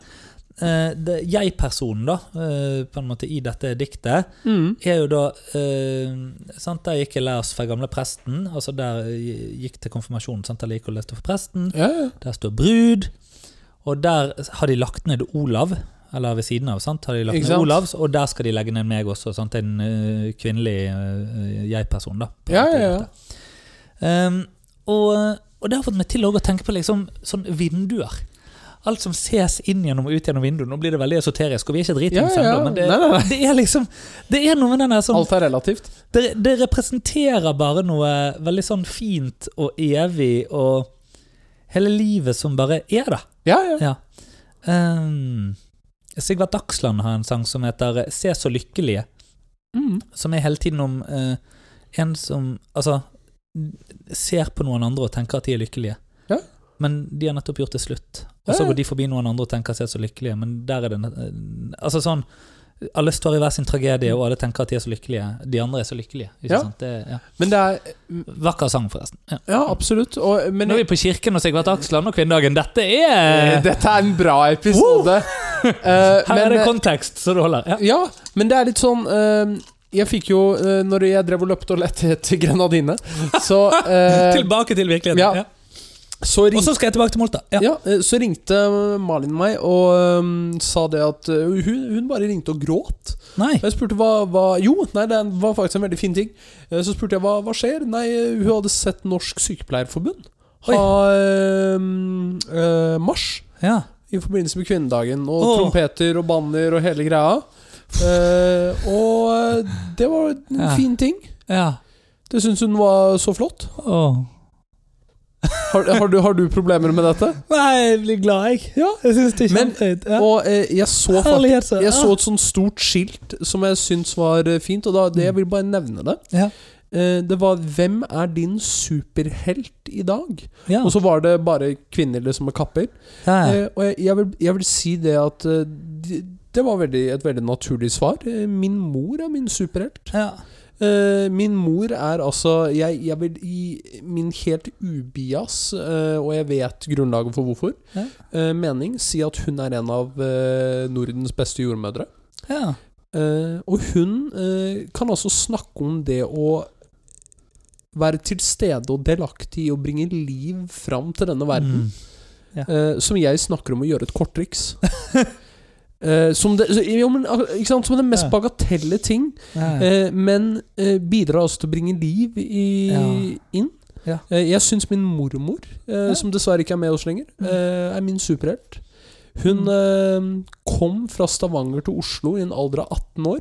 Speaker 1: eh, det- Jeg-personen da, eh, på en måte i dette diktet,
Speaker 2: Mm.
Speaker 1: er jo da eh, sant? Der gikk jeg lærs for gamle presten, altså der jeg gikk til konfirmasjon, sant? eller gikk og leste for presten.
Speaker 2: Ja, ja.
Speaker 1: Der står brud, og der har de lagt ned Olav. Eller ved siden av, sant? har de lagt
Speaker 2: Ikke
Speaker 1: ned
Speaker 2: sant?
Speaker 1: Olav, og der skal de legge ned meg også. Sant? En eh, kvinnelig eh, jeg-person, da. på Ehm,
Speaker 2: Ja,
Speaker 1: dette
Speaker 2: ja, ja.
Speaker 1: diktet. Um, og, og det har fått meg til også å tenke på liksom, sånn vinduer. alt som ses inn gjennom og ut gjennom vinduet. Nå blir det veldig esoterisk, og vi er ikke dritings
Speaker 2: Ja, ja,
Speaker 1: ennå,
Speaker 2: ja.
Speaker 1: men det,
Speaker 2: Nei, nei, nei.
Speaker 1: det er liksom Det er noe med den der sånn
Speaker 2: Alt er relativt.
Speaker 1: det, det representerer bare noe veldig sånn fint og evig og hele livet som bare er, da.
Speaker 2: Ja, ja.
Speaker 1: Ja. Ehm, Sigvart Dagsland har en sang som heter 'Se så lykkelige',
Speaker 2: Mm.
Speaker 1: som er hele tiden om eh, en som Altså ser på noen andre og tenker at de er lykkelige,
Speaker 2: Ja.
Speaker 1: men de har nettopp gjort det slutt. Og
Speaker 2: Ja,
Speaker 1: så
Speaker 2: ja.
Speaker 1: går de forbi noen andre og tenker seg så lykkelige, men der er det eh, Altså sånn alle står i hver sin tragedie, og alle tenker at de er så lykkelige. De andre er så lykkelige. Ikke
Speaker 2: Mm. Ja.
Speaker 1: sant? Det, ja.
Speaker 2: Men det er
Speaker 1: Vakker sang, forresten. Ja.
Speaker 2: Ja, absolutt. Og, men
Speaker 1: Nå er vi på kirken og Sigvart Aksland og kvinnedagen. Dette er
Speaker 2: Eh, Dette er en bra episode. Eh,
Speaker 1: Her er det
Speaker 2: eh,
Speaker 1: kontekst, så det holder. Ja.
Speaker 2: Ja, men det er litt sånn eh, Jeg fikk jo, eh, når jeg drev og løpte og lette etter grenadine, så eh,
Speaker 1: Tilbake til virkeligheten.
Speaker 2: ja.
Speaker 1: Ja.
Speaker 2: så
Speaker 1: Og
Speaker 2: ringte
Speaker 1: så skal jeg tilbake til Molta. Ja.
Speaker 2: ja, eh, så ringte Malin meg og eh, sa det at eh, hun, hun bare ringte og gråt.
Speaker 1: Nei.
Speaker 2: Og Jeg spurte hva, hva Jo, nei, det var faktisk en veldig fin ting. Eh, Så spurte jeg hva, hva skjer. Nei, eh, hun hadde sett Norsk Sykepleierforbund
Speaker 1: Oi.
Speaker 2: ha eh, eh, marsj
Speaker 1: Ja.
Speaker 2: i forbindelse med kvinnedagen. Og
Speaker 1: Åh.
Speaker 2: trompeter og banner og hele greia. Eh, og det var en
Speaker 1: Ja.
Speaker 2: fin ting.
Speaker 1: ja.
Speaker 2: Det syns hun var så flott.
Speaker 1: Åh.
Speaker 2: Har, har, du, har du problemer med dette?
Speaker 1: Nei, jeg blir glad, jeg. Ja, jeg syns det er
Speaker 2: Men-
Speaker 1: kjempefint. Ja.
Speaker 2: Og eh, jeg så faktisk
Speaker 1: Herlighet, så.
Speaker 2: jeg så et sånt stort skilt som jeg syns var eh, fint, og da, det, jeg vil bare nevne det.
Speaker 1: Ja.
Speaker 2: Eh, Det var 'Hvem er din superhelt i dag?'
Speaker 1: Ja.
Speaker 2: Og så var det bare kvinner liksom med kapper.
Speaker 1: Ja.
Speaker 2: Eh, Og jeg, jeg, vil, jeg vil si det at eh, det, det var veldig, et veldig naturlig svar. Eh, Min mor er min superhelt.
Speaker 1: Ja.
Speaker 2: Eh, Min mor er altså Jeg, jeg vil i min helt ubias, eh, og jeg vet grunnlaget for hvorfor,
Speaker 1: Ja.
Speaker 2: eh, mening si at hun er en av eh, Nordens beste jordmødre.
Speaker 1: Ja.
Speaker 2: Eh, og hun eh, kan altså snakke om det å være til stede og delaktig i å bringe liv fram til denne verden.
Speaker 1: Mm.
Speaker 2: eh, som jeg snakker om å gjøre et korttriks. Eh, som, det, så- jo, men, al- ikke sant? som den mest
Speaker 1: Ja.
Speaker 2: bagatelle ting,
Speaker 1: Ja.
Speaker 2: eh, men eh, bidrar altså til å bringe liv i,
Speaker 1: Ja.
Speaker 2: inn.
Speaker 1: Ja.
Speaker 2: Eh, jeg syns min mormor, eh,
Speaker 1: Ja. Mm.
Speaker 2: som dessverre ikke er med oss lenger, eh, er min superhelt. Hun eh, kom fra Stavanger til Oslo i en alder av 18 år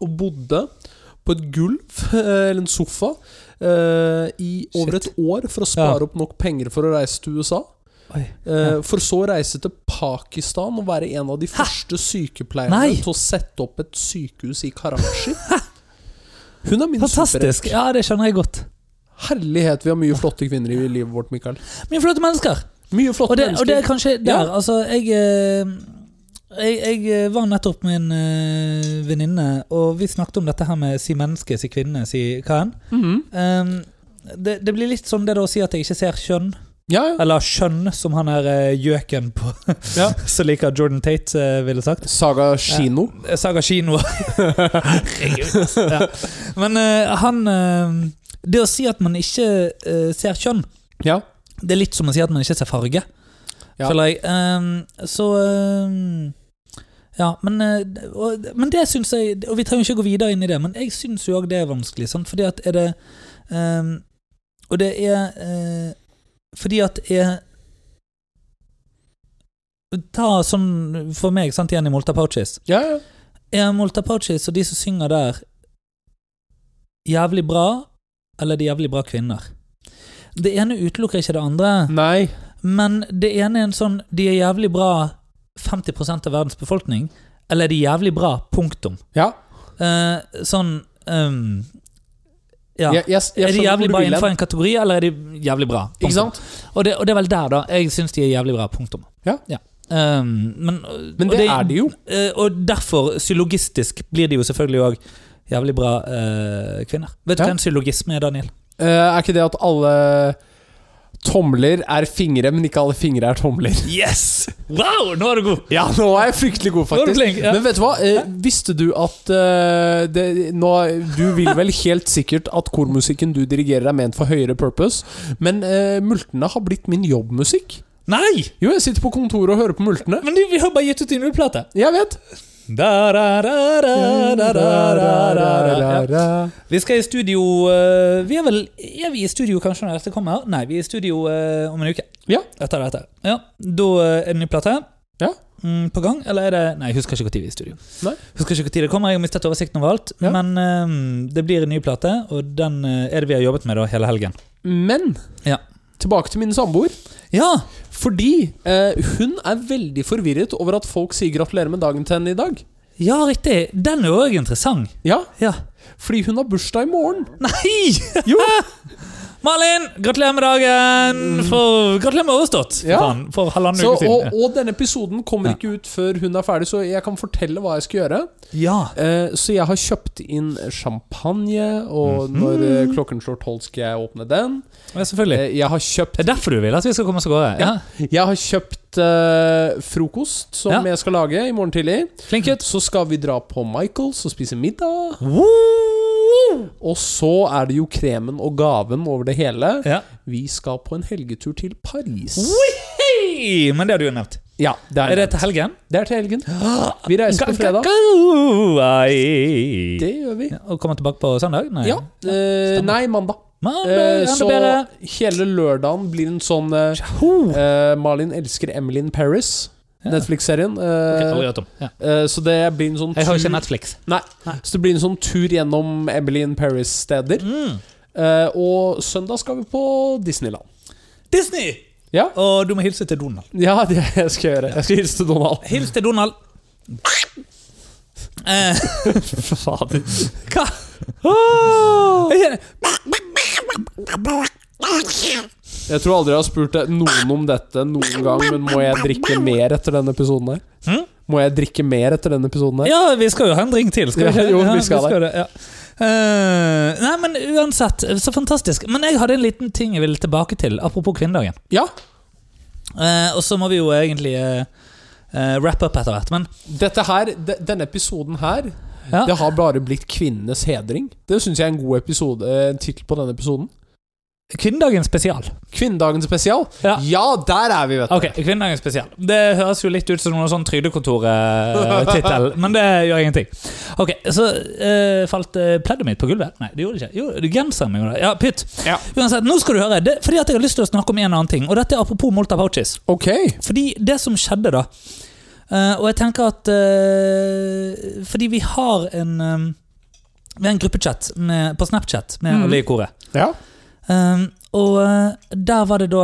Speaker 2: og bodde på et gulv, eh, eller en sofa, eh, i over et år for å spare
Speaker 1: Ja.
Speaker 2: opp nok penger for å reise til USA.
Speaker 1: Oi.
Speaker 2: Eh,
Speaker 1: Ja.
Speaker 2: For så å reise til Pakistan og være en av de første sykepleierne
Speaker 1: Nei!
Speaker 2: til å sette opp et sykehus i Karachi. Hun er min
Speaker 1: Fantastisk.
Speaker 2: superhelt.
Speaker 1: Ja, det skjønner jeg godt.
Speaker 2: Herlighet, vi har mye flotte kvinner i livet vårt, Mikael.
Speaker 1: Mine flotte mennesker.
Speaker 2: Mye flotte
Speaker 1: Og det, og
Speaker 2: mennesker.
Speaker 1: det er kanskje der.
Speaker 2: Ja.
Speaker 1: Altså, jeg eh, jeg, jeg eh, var nettopp med en eh, venninne, og vi snakket om dette her med si menneske, si kvinne, si hva enn.
Speaker 2: Mhm.
Speaker 1: Ehm, det, det blir litt som det da å si at jeg ikke ser kjønn.
Speaker 2: Ja, ja.
Speaker 1: Eller kjønn, som han er eh, gjøken på
Speaker 2: Ja.
Speaker 1: som liker Jordan Tate, eh, ville sagt.
Speaker 2: Saga Kino.
Speaker 1: Eh, Saga Kino. Herregud, ass. ja. Men eh, han eh, Det å si at man ikke eh, ser kjønn,
Speaker 2: Ja.
Speaker 1: det er litt som å si at man ikke ser farge,
Speaker 2: Ja.
Speaker 1: føler jeg. Ehm, så ehm, ja, men, eh, og, men det syns jeg Og vi trenger ikke gå videre inn i det, men jeg syns jo òg det er vanskelig. Sant? Fordi at er det ehm, Og det er eh, fordi at er Ta sånn for meg, sant, igjen i Molta Pouches.
Speaker 2: Ja, ja.
Speaker 1: Er Molta Pouches og de som synger der, jævlig bra, eller er de jævlig bra kvinner? Det ene utelukker ikke det andre,
Speaker 2: Nei.
Speaker 1: men det ene er en sånn De er jævlig bra 50 av verdens befolkning, eller er de jævlig bra, punktum?
Speaker 2: Ja.
Speaker 1: Eh, sånn ehm, Ja.
Speaker 2: Jeg, jeg, jeg
Speaker 1: er de
Speaker 2: skjønner hvor
Speaker 1: jævlig
Speaker 2: du
Speaker 1: bra
Speaker 2: vil hen.
Speaker 1: innenfor en kategori, eller er de jævlig bra?
Speaker 2: Ikke
Speaker 1: Punktum.
Speaker 2: sant?
Speaker 1: Og det, og det er vel der, da. Jeg syns de er jævlig bra. Punktum.
Speaker 2: Ja.
Speaker 1: Ehm, men,
Speaker 2: Men
Speaker 1: og
Speaker 2: det, er de jo.
Speaker 1: Eh, og derfor, sylogistisk, blir de jo selvfølgelig òg jævlig bra eh, kvinner. Vet du
Speaker 2: Ja.
Speaker 1: hva en sylogisme er, Daniel?
Speaker 2: Eh, er ikke det at alle tomler er fingre, men ikke alle fingre er tomler?
Speaker 1: Yes! Wow, nå er du god!
Speaker 2: Ja, nå er jeg fryktelig
Speaker 1: Nå er
Speaker 2: god,
Speaker 1: du
Speaker 2: faktisk.
Speaker 1: flink, ja.
Speaker 2: Men vet du hva? Eh, visste du at eh, det, nå, Du vil vel helt sikkert at kormusikken du dirigerer, er ment for høyere purpose, men eh, multene har blitt min jobbmusikk.
Speaker 1: Nei!
Speaker 2: Jo, jeg sitter på kontoret og hører på multene.
Speaker 1: Men du, vi har bare gitt ut en juleplate.
Speaker 2: Jeg vet.
Speaker 1: Da, da, da, da, da, da, da, da, da. Ja. Vi skal i studio eh, Vi er vel er vi i studio kanskje når dette kommer? Nei, vi er i studio eh, om en uke.
Speaker 2: Ja.
Speaker 1: Etter dette. Ja, Da eh, er det ny plate
Speaker 2: Ja.
Speaker 1: mm, på gang. Eller er det Nei, jeg husker ikke når vi er i studio.
Speaker 2: Nei.
Speaker 1: Husker ikke hvor tid det kommer, Jeg har mistet oversikten over alt.
Speaker 2: Ja.
Speaker 1: Men eh, det blir en ny plate, og den eh, er det vi har jobbet med da hele helgen.
Speaker 2: Men
Speaker 1: Ja.
Speaker 2: tilbake til min samboer.
Speaker 1: Ja!
Speaker 2: Fordi eh, hun er veldig forvirret over at folk sier 'gratulerer med dagen' til henne i dag.
Speaker 1: Ja, riktig! Den er òg interessant.
Speaker 2: Ja,
Speaker 1: Ja.
Speaker 2: fordi hun har bursdag i morgen.
Speaker 1: Nei!
Speaker 2: Jo.
Speaker 1: Malin, gratulerer med dagen! For, gratulerer med overstått!
Speaker 2: Mm. Ja.
Speaker 1: For, faen, for halvannen
Speaker 2: Så,
Speaker 1: uke siden.
Speaker 2: og, og denne episoden kommer
Speaker 1: Ja.
Speaker 2: ikke ut før hun er ferdig, så jeg kan fortelle hva jeg skal gjøre.
Speaker 1: ja.
Speaker 2: Eh, så jeg har kjøpt inn champagne, og
Speaker 1: Mhm.
Speaker 2: når eh, klokken slår tolv, skal jeg åpne den.
Speaker 1: ja, selvfølgelig.
Speaker 2: Eh, jeg har kjøpt
Speaker 1: Det er derfor du vil at vi skal komme oss av gårde? Ja.
Speaker 2: Jeg har kjøpt eh, frokost som
Speaker 1: Ja.
Speaker 2: jeg skal lage i morgen tidlig.
Speaker 1: Flink gutt.
Speaker 2: Så skal vi dra på Michaels og spise middag.
Speaker 1: Woo!
Speaker 2: Og så er det jo kremen og gaven over det hele.
Speaker 1: Ja.
Speaker 2: Vi skal på en helgetur til Paris.
Speaker 1: Wihei! Men det har du jo nevnt.
Speaker 2: Ja, det er,
Speaker 1: Er det til helgen?
Speaker 2: det er til helgen. Vi reiser på fredag.
Speaker 1: Ga-ga-ga-ai.
Speaker 2: Det gjør vi.
Speaker 1: Ja, Og kommer tilbake på søndag? Nei.
Speaker 2: Ja. eh, nei, mandag. Eh,
Speaker 1: Mandag, enda
Speaker 2: så
Speaker 1: bedre.
Speaker 2: hele lørdagen blir en sånn eh,
Speaker 1: Tjaho!
Speaker 2: eh, Malin elsker Emily in Paris.
Speaker 1: Ja.
Speaker 2: Netflix-serien.
Speaker 1: Ok, aldri
Speaker 2: Eh,
Speaker 1: hørt om. Ja.
Speaker 2: eh, så det blir en sånn
Speaker 1: Jeg har jo ikke
Speaker 2: tur
Speaker 1: Netflix.
Speaker 2: Nei. Så det blir en sånn tur gjennom Emily in Paris-steder.
Speaker 1: Mm.
Speaker 2: Eh, og søndag skal vi på Disneyland.
Speaker 1: Disney!
Speaker 2: Ja,
Speaker 1: Og du må hilse til Donald.
Speaker 2: ja det jeg skal gjøre. Jeg skal hilse til Donald.
Speaker 1: Hils til Donald. Eh,
Speaker 2: Fader.
Speaker 1: hva?
Speaker 2: Jeg tror aldri jeg har spurt deg- noen om dette noen gang, men må jeg drikke mer etter denne episoden her?
Speaker 1: Hm?
Speaker 2: Må jeg drikke mer etter denne episoden her?
Speaker 1: Ja, vi skal jo ha en drink til, skal vi
Speaker 2: Ja,
Speaker 1: ikke?
Speaker 2: jo,
Speaker 1: Ja,
Speaker 2: vi skal det.
Speaker 1: det, ja. Eh, nei, men uansett, så fantastisk. Men jeg hadde en liten ting jeg ville tilbake til, apropos kvinnedagen.
Speaker 2: Ja,
Speaker 1: Eh, og så må vi jo egentlig eh, eh, wrap up etter hvert, men
Speaker 2: dette her, de, denne episoden her,
Speaker 1: Ja.
Speaker 2: det har bare blitt kvinnenes hedring. Det syns jeg er en god episode, eh, tittel på denne episoden.
Speaker 1: kvinnedagen spesial.
Speaker 2: Kvinnedagen spesial.
Speaker 1: Ja.
Speaker 2: der er vi, vet du.
Speaker 1: Ok, kvinnedagen spesial. Det høres jo litt ut som noen sånn trygdekontor-tittel, men det gjør ingenting. Ok, så eh, falt eh, pleddet mitt på gulvet? Nei, det gjorde det ikke. Jo, det genseren min gjorde det. Ja, pytt.
Speaker 2: Ja.
Speaker 1: Uansett, nå skal du høre. Det, fordi at jeg har lyst til å snakke om en annen ting, og dette er apropos Molta Pouches.
Speaker 2: Ok.
Speaker 1: Fordi det som skjedde da eh, Og jeg tenker at eh, Fordi vi har en eh, Vi har en gruppechat med, på Snapchat med
Speaker 2: Mhm.
Speaker 1: alle i koret.
Speaker 2: Ja.
Speaker 1: Eh, og eh, der var det da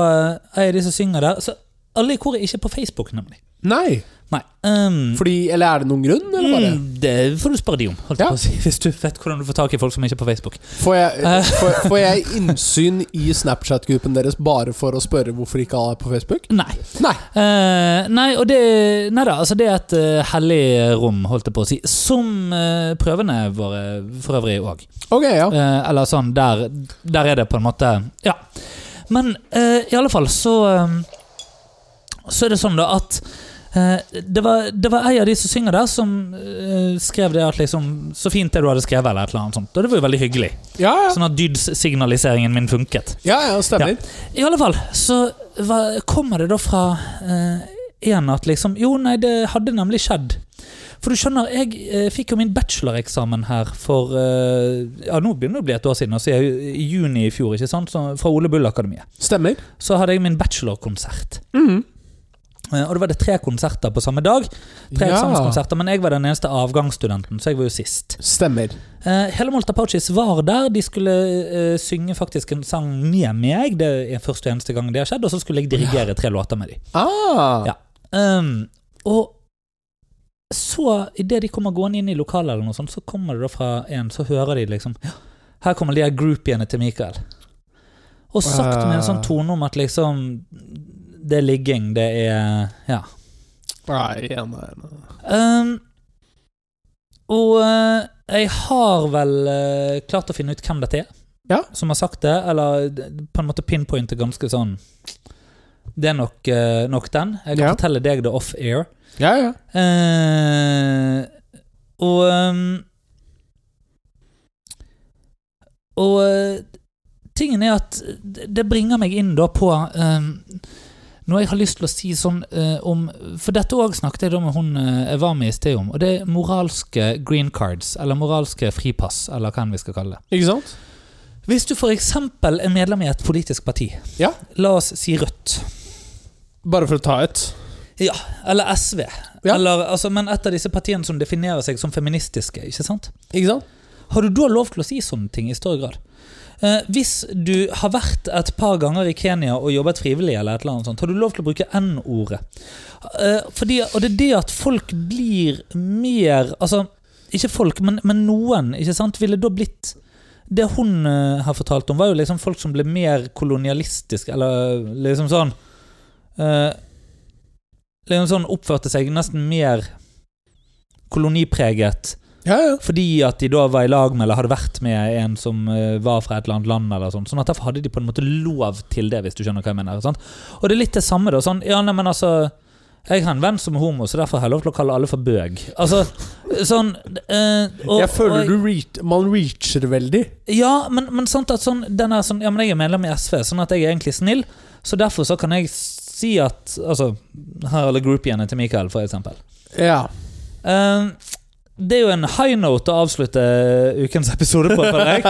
Speaker 1: ei av de som synger der. Så alle i koret er ikke på Facebook, nemlig.
Speaker 2: Nei.
Speaker 1: Nei. ehm,
Speaker 2: Fordi, eller er det noen grunn, eller bare?
Speaker 1: mm, det får du spørre de om, holdt jeg
Speaker 2: Ja.
Speaker 1: på å si, hvis du vet hvordan du får tak i folk som ikke er på Facebook.
Speaker 2: Får jeg, får, får jeg innsyn i Snapchat-gruppen deres bare for å spørre hvorfor ikke alle er på Facebook?
Speaker 1: Nei.
Speaker 2: Nei.
Speaker 1: Eh, nei, og det, nei da, altså det er et eh, hellig rom, holdt jeg på å si. Som eh, prøvene våre for øvrig òg.
Speaker 2: Ok, ja.
Speaker 1: Eh, eller sånn, der, der er det på en måte Ja. Men eh, i alle fall så eh, Så er det sånn da at eh, det, var, det var ei av de som synger der, som eh, skrev det at liksom Så fint det du hadde skrevet, eller et eller annet sånt. Og det var jo veldig hyggelig.
Speaker 2: Ja, ja.
Speaker 1: Sånn at dydssignaliseringen min funket.
Speaker 2: Ja, ja, stemmer.
Speaker 1: I alle fall så hva, kommer det da fra eh, en at liksom Jo, nei, det hadde nemlig skjedd. For du skjønner, jeg eh, fikk jo min bacheloreksamen her for eh, Ja, nå begynner det å bli et år siden, altså i i juni i fjor, ikke sant? Så, fra Ole Bull-akademiet.
Speaker 2: Stemmer.
Speaker 1: Så hadde jeg min bachelorkonsert.
Speaker 2: Mhm.
Speaker 1: Eh, og da var det tre konserter på samme dag. Tre
Speaker 2: Ja.
Speaker 1: eksamenskonserter, Men jeg var den eneste avgangsstudenten, så jeg var jo sist.
Speaker 2: Stemmer.
Speaker 1: Eh, Hele Malta Pouches var der. De skulle eh, synge faktisk en sang med meg. Det er første og eneste gang det har skjedd. Og så skulle jeg dirigere tre låter med dem.
Speaker 2: Ah.
Speaker 1: Ja. Um, og så, idet de kommer gående inn i lokalet, eller noe sånt, så kommer det da fra en, så hører de liksom «Ja, Her kommer de her groupiene til Mikael. Og sagt med en sånn tone om at liksom Det er ligging, det er Ja.
Speaker 2: Nei, ja, nei, nei.
Speaker 1: Um, og eh, jeg har vel eh, klart å finne ut hvem dette er,
Speaker 2: Ja.
Speaker 1: som har sagt det. Eller d- på en måte pinpointe ganske sånn Det er nok, eh, nok den. Jeg kan
Speaker 2: Ja.
Speaker 1: fortelle deg det off air.
Speaker 2: Ja, ja.
Speaker 1: Eh, og ehm, Og eh, tingen er at det det bringer meg inn da på ehm, noe jeg har lyst til å si sånn eh, om For dette òg snakket jeg da med hun eh, jeg var med i sted om, og det er moralske green cards, eller moralske fripass, eller hva enn vi skal kalle det.
Speaker 2: Ikke sant?
Speaker 1: Hvis du f.eks. er medlem i et politisk parti,
Speaker 2: Ja.
Speaker 1: la oss si Rødt,
Speaker 2: Bare for å ta et.
Speaker 1: ja, eller SV,
Speaker 2: Ja.
Speaker 1: eller, altså, men et av disse partiene som definerer seg som feministiske, ikke sant?
Speaker 2: Ikke sant?
Speaker 1: Har du da lov til å si sånne ting i større grad? Eh, hvis du har vært et par ganger i Kenya og jobbet frivillig, eller et eller annet sånt, har du lov til å bruke N-ordet? Eh, fordi, og det er det at folk blir mer Altså, ikke folk, men, men noen, ikke sant, ville da blitt Det hun eh, har fortalt om, var jo liksom folk som ble mer kolonialistiske, eller liksom sånn eh, Liksom sånn oppførte seg nesten mer kolonipreget
Speaker 2: Ja, ja.
Speaker 1: fordi at de da var i lag med, eller hadde vært med en som eh, var fra et eller annet land. eller sånt. Sånn at Derfor hadde de på en måte lov til det, hvis du skjønner hva jeg mener. Sant? Og det er litt det samme, da. sånn, ja, nei, men altså, Jeg har en venn som er homo, så derfor har jeg lov til å kalle alle for bøg. Altså, sånn... eh, og-
Speaker 2: jeg føler
Speaker 1: og-
Speaker 2: du reach, man reacher veldig.
Speaker 1: ja, men, men sant at sånn, den er sånn Ja, men jeg er medlem i SV, sånn at jeg er egentlig snill. Så derfor så kan jeg si at Altså, her er alle groupiene til Mikael, for eksempel.
Speaker 2: Ja.
Speaker 1: Eh, det er jo en high note å avslutte ukens episode på, føler jeg.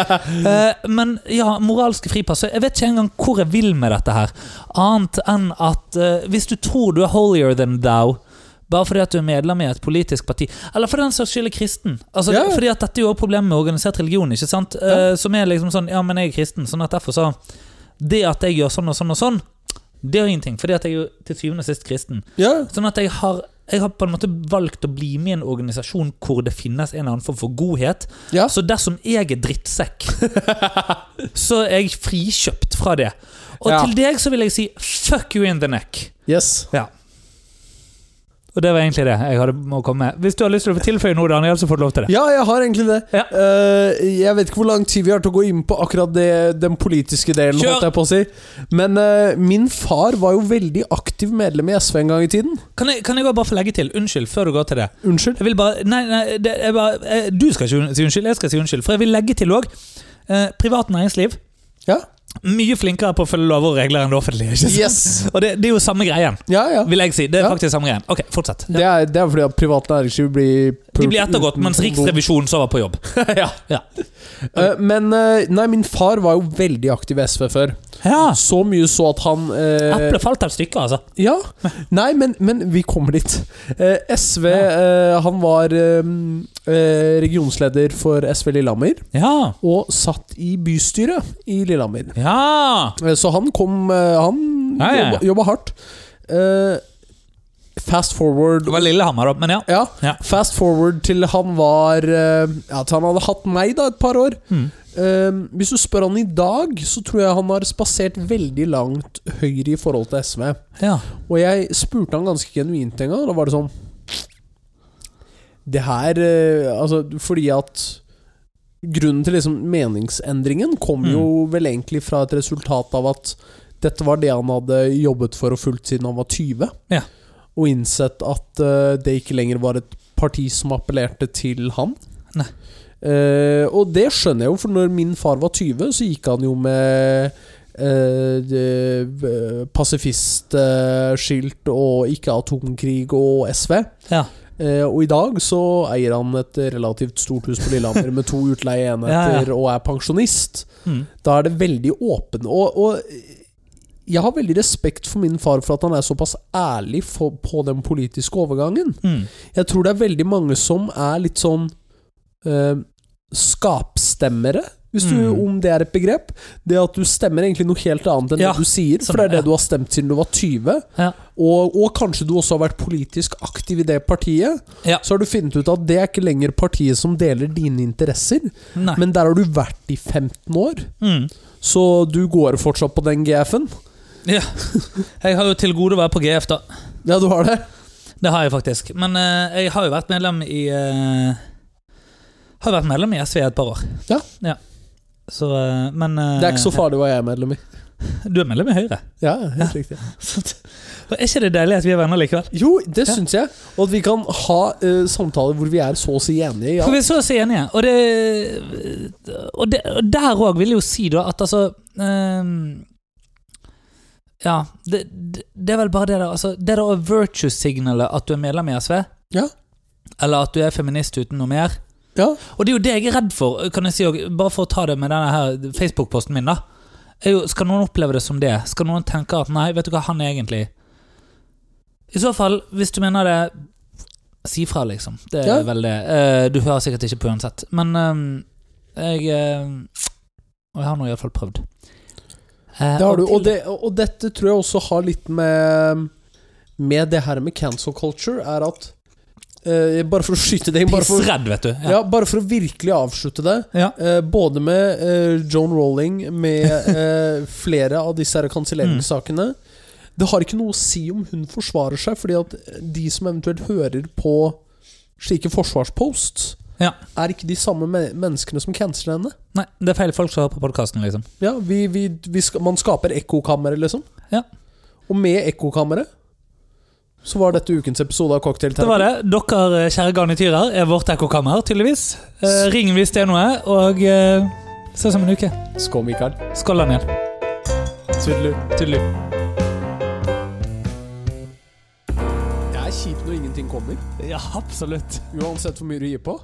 Speaker 1: Eh, men ja, moralske fripass. Jeg vet ikke engang hvor jeg vil med dette her. Annet enn at eh, hvis du tror du er holier than thou bare fordi at du er medlem i et politisk parti, eller for den saks skyld er kristen. Altså,
Speaker 2: Ja.
Speaker 1: Fordi at Dette er jo også problemet med organisert religion, ikke sant? Eh, som er liksom sånn Ja, men jeg er kristen, sånn at derfor så Det at jeg gjør sånn og sånn og sånn, det gjør ingenting, fordi at jeg er jo til syvende og sist kristen.
Speaker 2: ja.
Speaker 1: Sånn at jeg har, jeg har på en måte valgt å bli med i en organisasjon hvor det finnes en eller annen form for godhet.
Speaker 2: ja.
Speaker 1: Så dersom jeg er drittsekk, så er jeg frikjøpt fra det. Og
Speaker 2: Ja.
Speaker 1: til deg så vil jeg si fuck you in the neck.
Speaker 2: Yes.
Speaker 1: Og det var egentlig det jeg hadde må komme med. Hvis du har lyst til å tilføye noe, Daniel, så får du lov til det.
Speaker 2: Ja, jeg har egentlig det.
Speaker 1: Ja.
Speaker 2: Eh, jeg vet ikke hvor lang tid vi har til å gå inn på akkurat det, den politiske delen.
Speaker 1: Kjør!
Speaker 2: Holdt jeg på å si. Men eh, min far var jo veldig aktiv medlem i SV en gang i tiden.
Speaker 1: Kan jeg, kan jeg bare få legge til, unnskyld, før du går til det.
Speaker 2: Unnskyld.
Speaker 1: Jeg vil bare, nei, nei det, jeg bare, eh, Du skal ikke si unnskyld, jeg skal si unnskyld. For jeg vil legge til òg. Eh, privat næringsliv
Speaker 2: Ja.
Speaker 1: mye flinkere på å følge lover og regler enn det offentlige. Ikke sant?
Speaker 2: Yes.
Speaker 1: Og det, det er jo samme greien.
Speaker 2: Ja, ja.
Speaker 1: Vil jeg si. Det er
Speaker 2: Ja.
Speaker 1: faktisk samme greien. Ok, fortsett.
Speaker 2: Det er, det er fordi at privat næringsliv blir
Speaker 1: De blir ettergått mens Riksrevisjonen sover på jobb.
Speaker 2: ja.
Speaker 1: Ja.
Speaker 2: Eh, men eh, nei, min far var jo veldig aktiv i SV før.
Speaker 1: ja.
Speaker 2: Så mye så at han eh,
Speaker 1: Eplet falt av stykker, altså.
Speaker 2: Ja. Nei, men, men vi kommer dit. Eh, SV eh, Han var eh, eh, regionsleder for SV Lillehammer
Speaker 1: Ja.
Speaker 2: og satt i bystyret i Lillehammer.
Speaker 1: Ja.
Speaker 2: Eh, så han kom eh, Han
Speaker 1: Ja, ja, ja.
Speaker 2: jobba, jobba hardt. Eh, fast forward
Speaker 1: Det var Lillehammer, da, men ja.
Speaker 2: ja,
Speaker 1: Ja.
Speaker 2: Fast forward til han var eh, ja, Til han hadde hatt meg da et par år.
Speaker 1: Mm.
Speaker 2: Eh, hvis du spør han i dag, så tror jeg han har spasert veldig langt høyre i forhold til SV.
Speaker 1: ja.
Speaker 2: Og jeg spurte han ganske genuint en gang, og da var det sånn Det her eh, Altså, fordi at Grunnen til liksom meningsendringen kom jo vel egentlig fra et resultat av at dette var det han hadde jobbet for og fulgt siden han var 20.
Speaker 1: Ja.
Speaker 2: Og innsett at eh, det ikke lenger var et parti som appellerte til han.
Speaker 1: Nei.
Speaker 2: Eh, og det skjønner jeg jo, for når min far var 20, så gikk han jo med eh, det- pasifistskilt og ikke atomkrig og SV.
Speaker 1: Ja.
Speaker 2: Eh, og i dag så eier han et relativt stort hus på Lillehammer med to
Speaker 1: Ja,
Speaker 2: utleieenheter
Speaker 1: ja.
Speaker 2: og er pensjonist.
Speaker 1: Mm.
Speaker 2: Da er det veldig åpen. Og, og jeg har veldig respekt for min far for at han er såpass ærlig for, på den politiske overgangen.
Speaker 1: Mm.
Speaker 2: Jeg tror det er veldig mange som er litt sånn eh, skapstemmere. Hvis du,
Speaker 1: Mm.
Speaker 2: Om det er et begrep. Det at du stemmer egentlig noe helt annet enn
Speaker 1: Ja,
Speaker 2: det du sier.
Speaker 1: sånn,
Speaker 2: For det er det
Speaker 1: ja.
Speaker 2: du har stemt siden du var 20.
Speaker 1: Ja.
Speaker 2: Og, og kanskje du også har vært politisk aktiv i det partiet.
Speaker 1: Ja.
Speaker 2: Så har du funnet ut at det er ikke lenger partiet som deler dine interesser.
Speaker 1: Nei.
Speaker 2: Men der har du vært i 15 år.
Speaker 1: Mm.
Speaker 2: Så du går fortsatt på den GF-en?
Speaker 1: Ja. Jeg har jo til gode å være på GF, da.
Speaker 2: Ja, du har det?
Speaker 1: Det har jeg faktisk. Men eh, jeg har jo vært medlem i eh, Har vært medlem i SV i et par år.
Speaker 2: Ja.
Speaker 1: Så, eh, men eh,
Speaker 2: Det er ikke så farlig hva jeg er medlem i.
Speaker 1: Du er medlem i Høyre.
Speaker 2: Ja, helt riktig.
Speaker 1: Og Er ikke det deilig at vi er venner likevel?
Speaker 2: Jo, det
Speaker 1: Ja.
Speaker 2: syns jeg. Og at vi kan ha eh, samtaler hvor vi er så å si enige. Ja.
Speaker 1: For vi er så å si enige. Og, det, og, det, og der òg vil jeg jo si da at altså ehm, Ja, det, det, det er vel bare det der. Altså, det der virtue-signalet at du er medlem i SV,
Speaker 2: Ja.
Speaker 1: eller at du er feminist uten noe mer
Speaker 2: Ja.
Speaker 1: Og det er jo det jeg er redd for, kan jeg si, og bare for å ta det med denne her Facebook-posten min, da. Er jo, skal noen oppleve det som det? Skal noen tenke at nei, vet du hva han er egentlig? I så fall, hvis du mener det, si fra, liksom. Det er
Speaker 2: Ja.
Speaker 1: vel det. Eh, du hører sikkert ikke på uansett. Men eh, jeg eh, Og jeg har nå iallfall prøvd. Eh,
Speaker 2: Det har du.
Speaker 1: til-
Speaker 2: Og, det, og dette tror jeg også har litt med Med det her med cancel culture, er at eh, Bare for å skyte det inn, bare for,
Speaker 1: Pissredd, vet du.
Speaker 2: ja, bare for å virkelig avslutte det.
Speaker 1: Ja.
Speaker 2: Eh, både med eh, Joan Rowling, med eh, flere av disse her
Speaker 1: Mm.
Speaker 2: kanselleringssakene. Det har ikke noe å si om hun forsvarer seg, fordi at de som eventuelt hører på slike forsvarsposts,
Speaker 1: Ja.
Speaker 2: er ikke de samme me menneskene som canceler henne.
Speaker 1: Nei, det er feil folk som hører på podkasten, liksom.
Speaker 2: Ja, vi, vi, vi ska man skaper ekkokamre, liksom.
Speaker 1: Ja.
Speaker 2: Og med ekkokamre så var dette ukens episode av
Speaker 1: Det var
Speaker 2: Cocktailterapi.
Speaker 1: det. Dere, eh, kjære garnityrer, er vårt ekkokammer, tydeligvis. Eh, ring hvis det er noe, og eh, ses om en uke.
Speaker 2: Skål, Mikael.
Speaker 1: Skål, Daniel.
Speaker 2: Tudelu.
Speaker 1: Tudelu.
Speaker 2: Det er kjipt når ingenting kommer,
Speaker 1: Ja, absolutt.
Speaker 2: uansett hvor mye du gir på.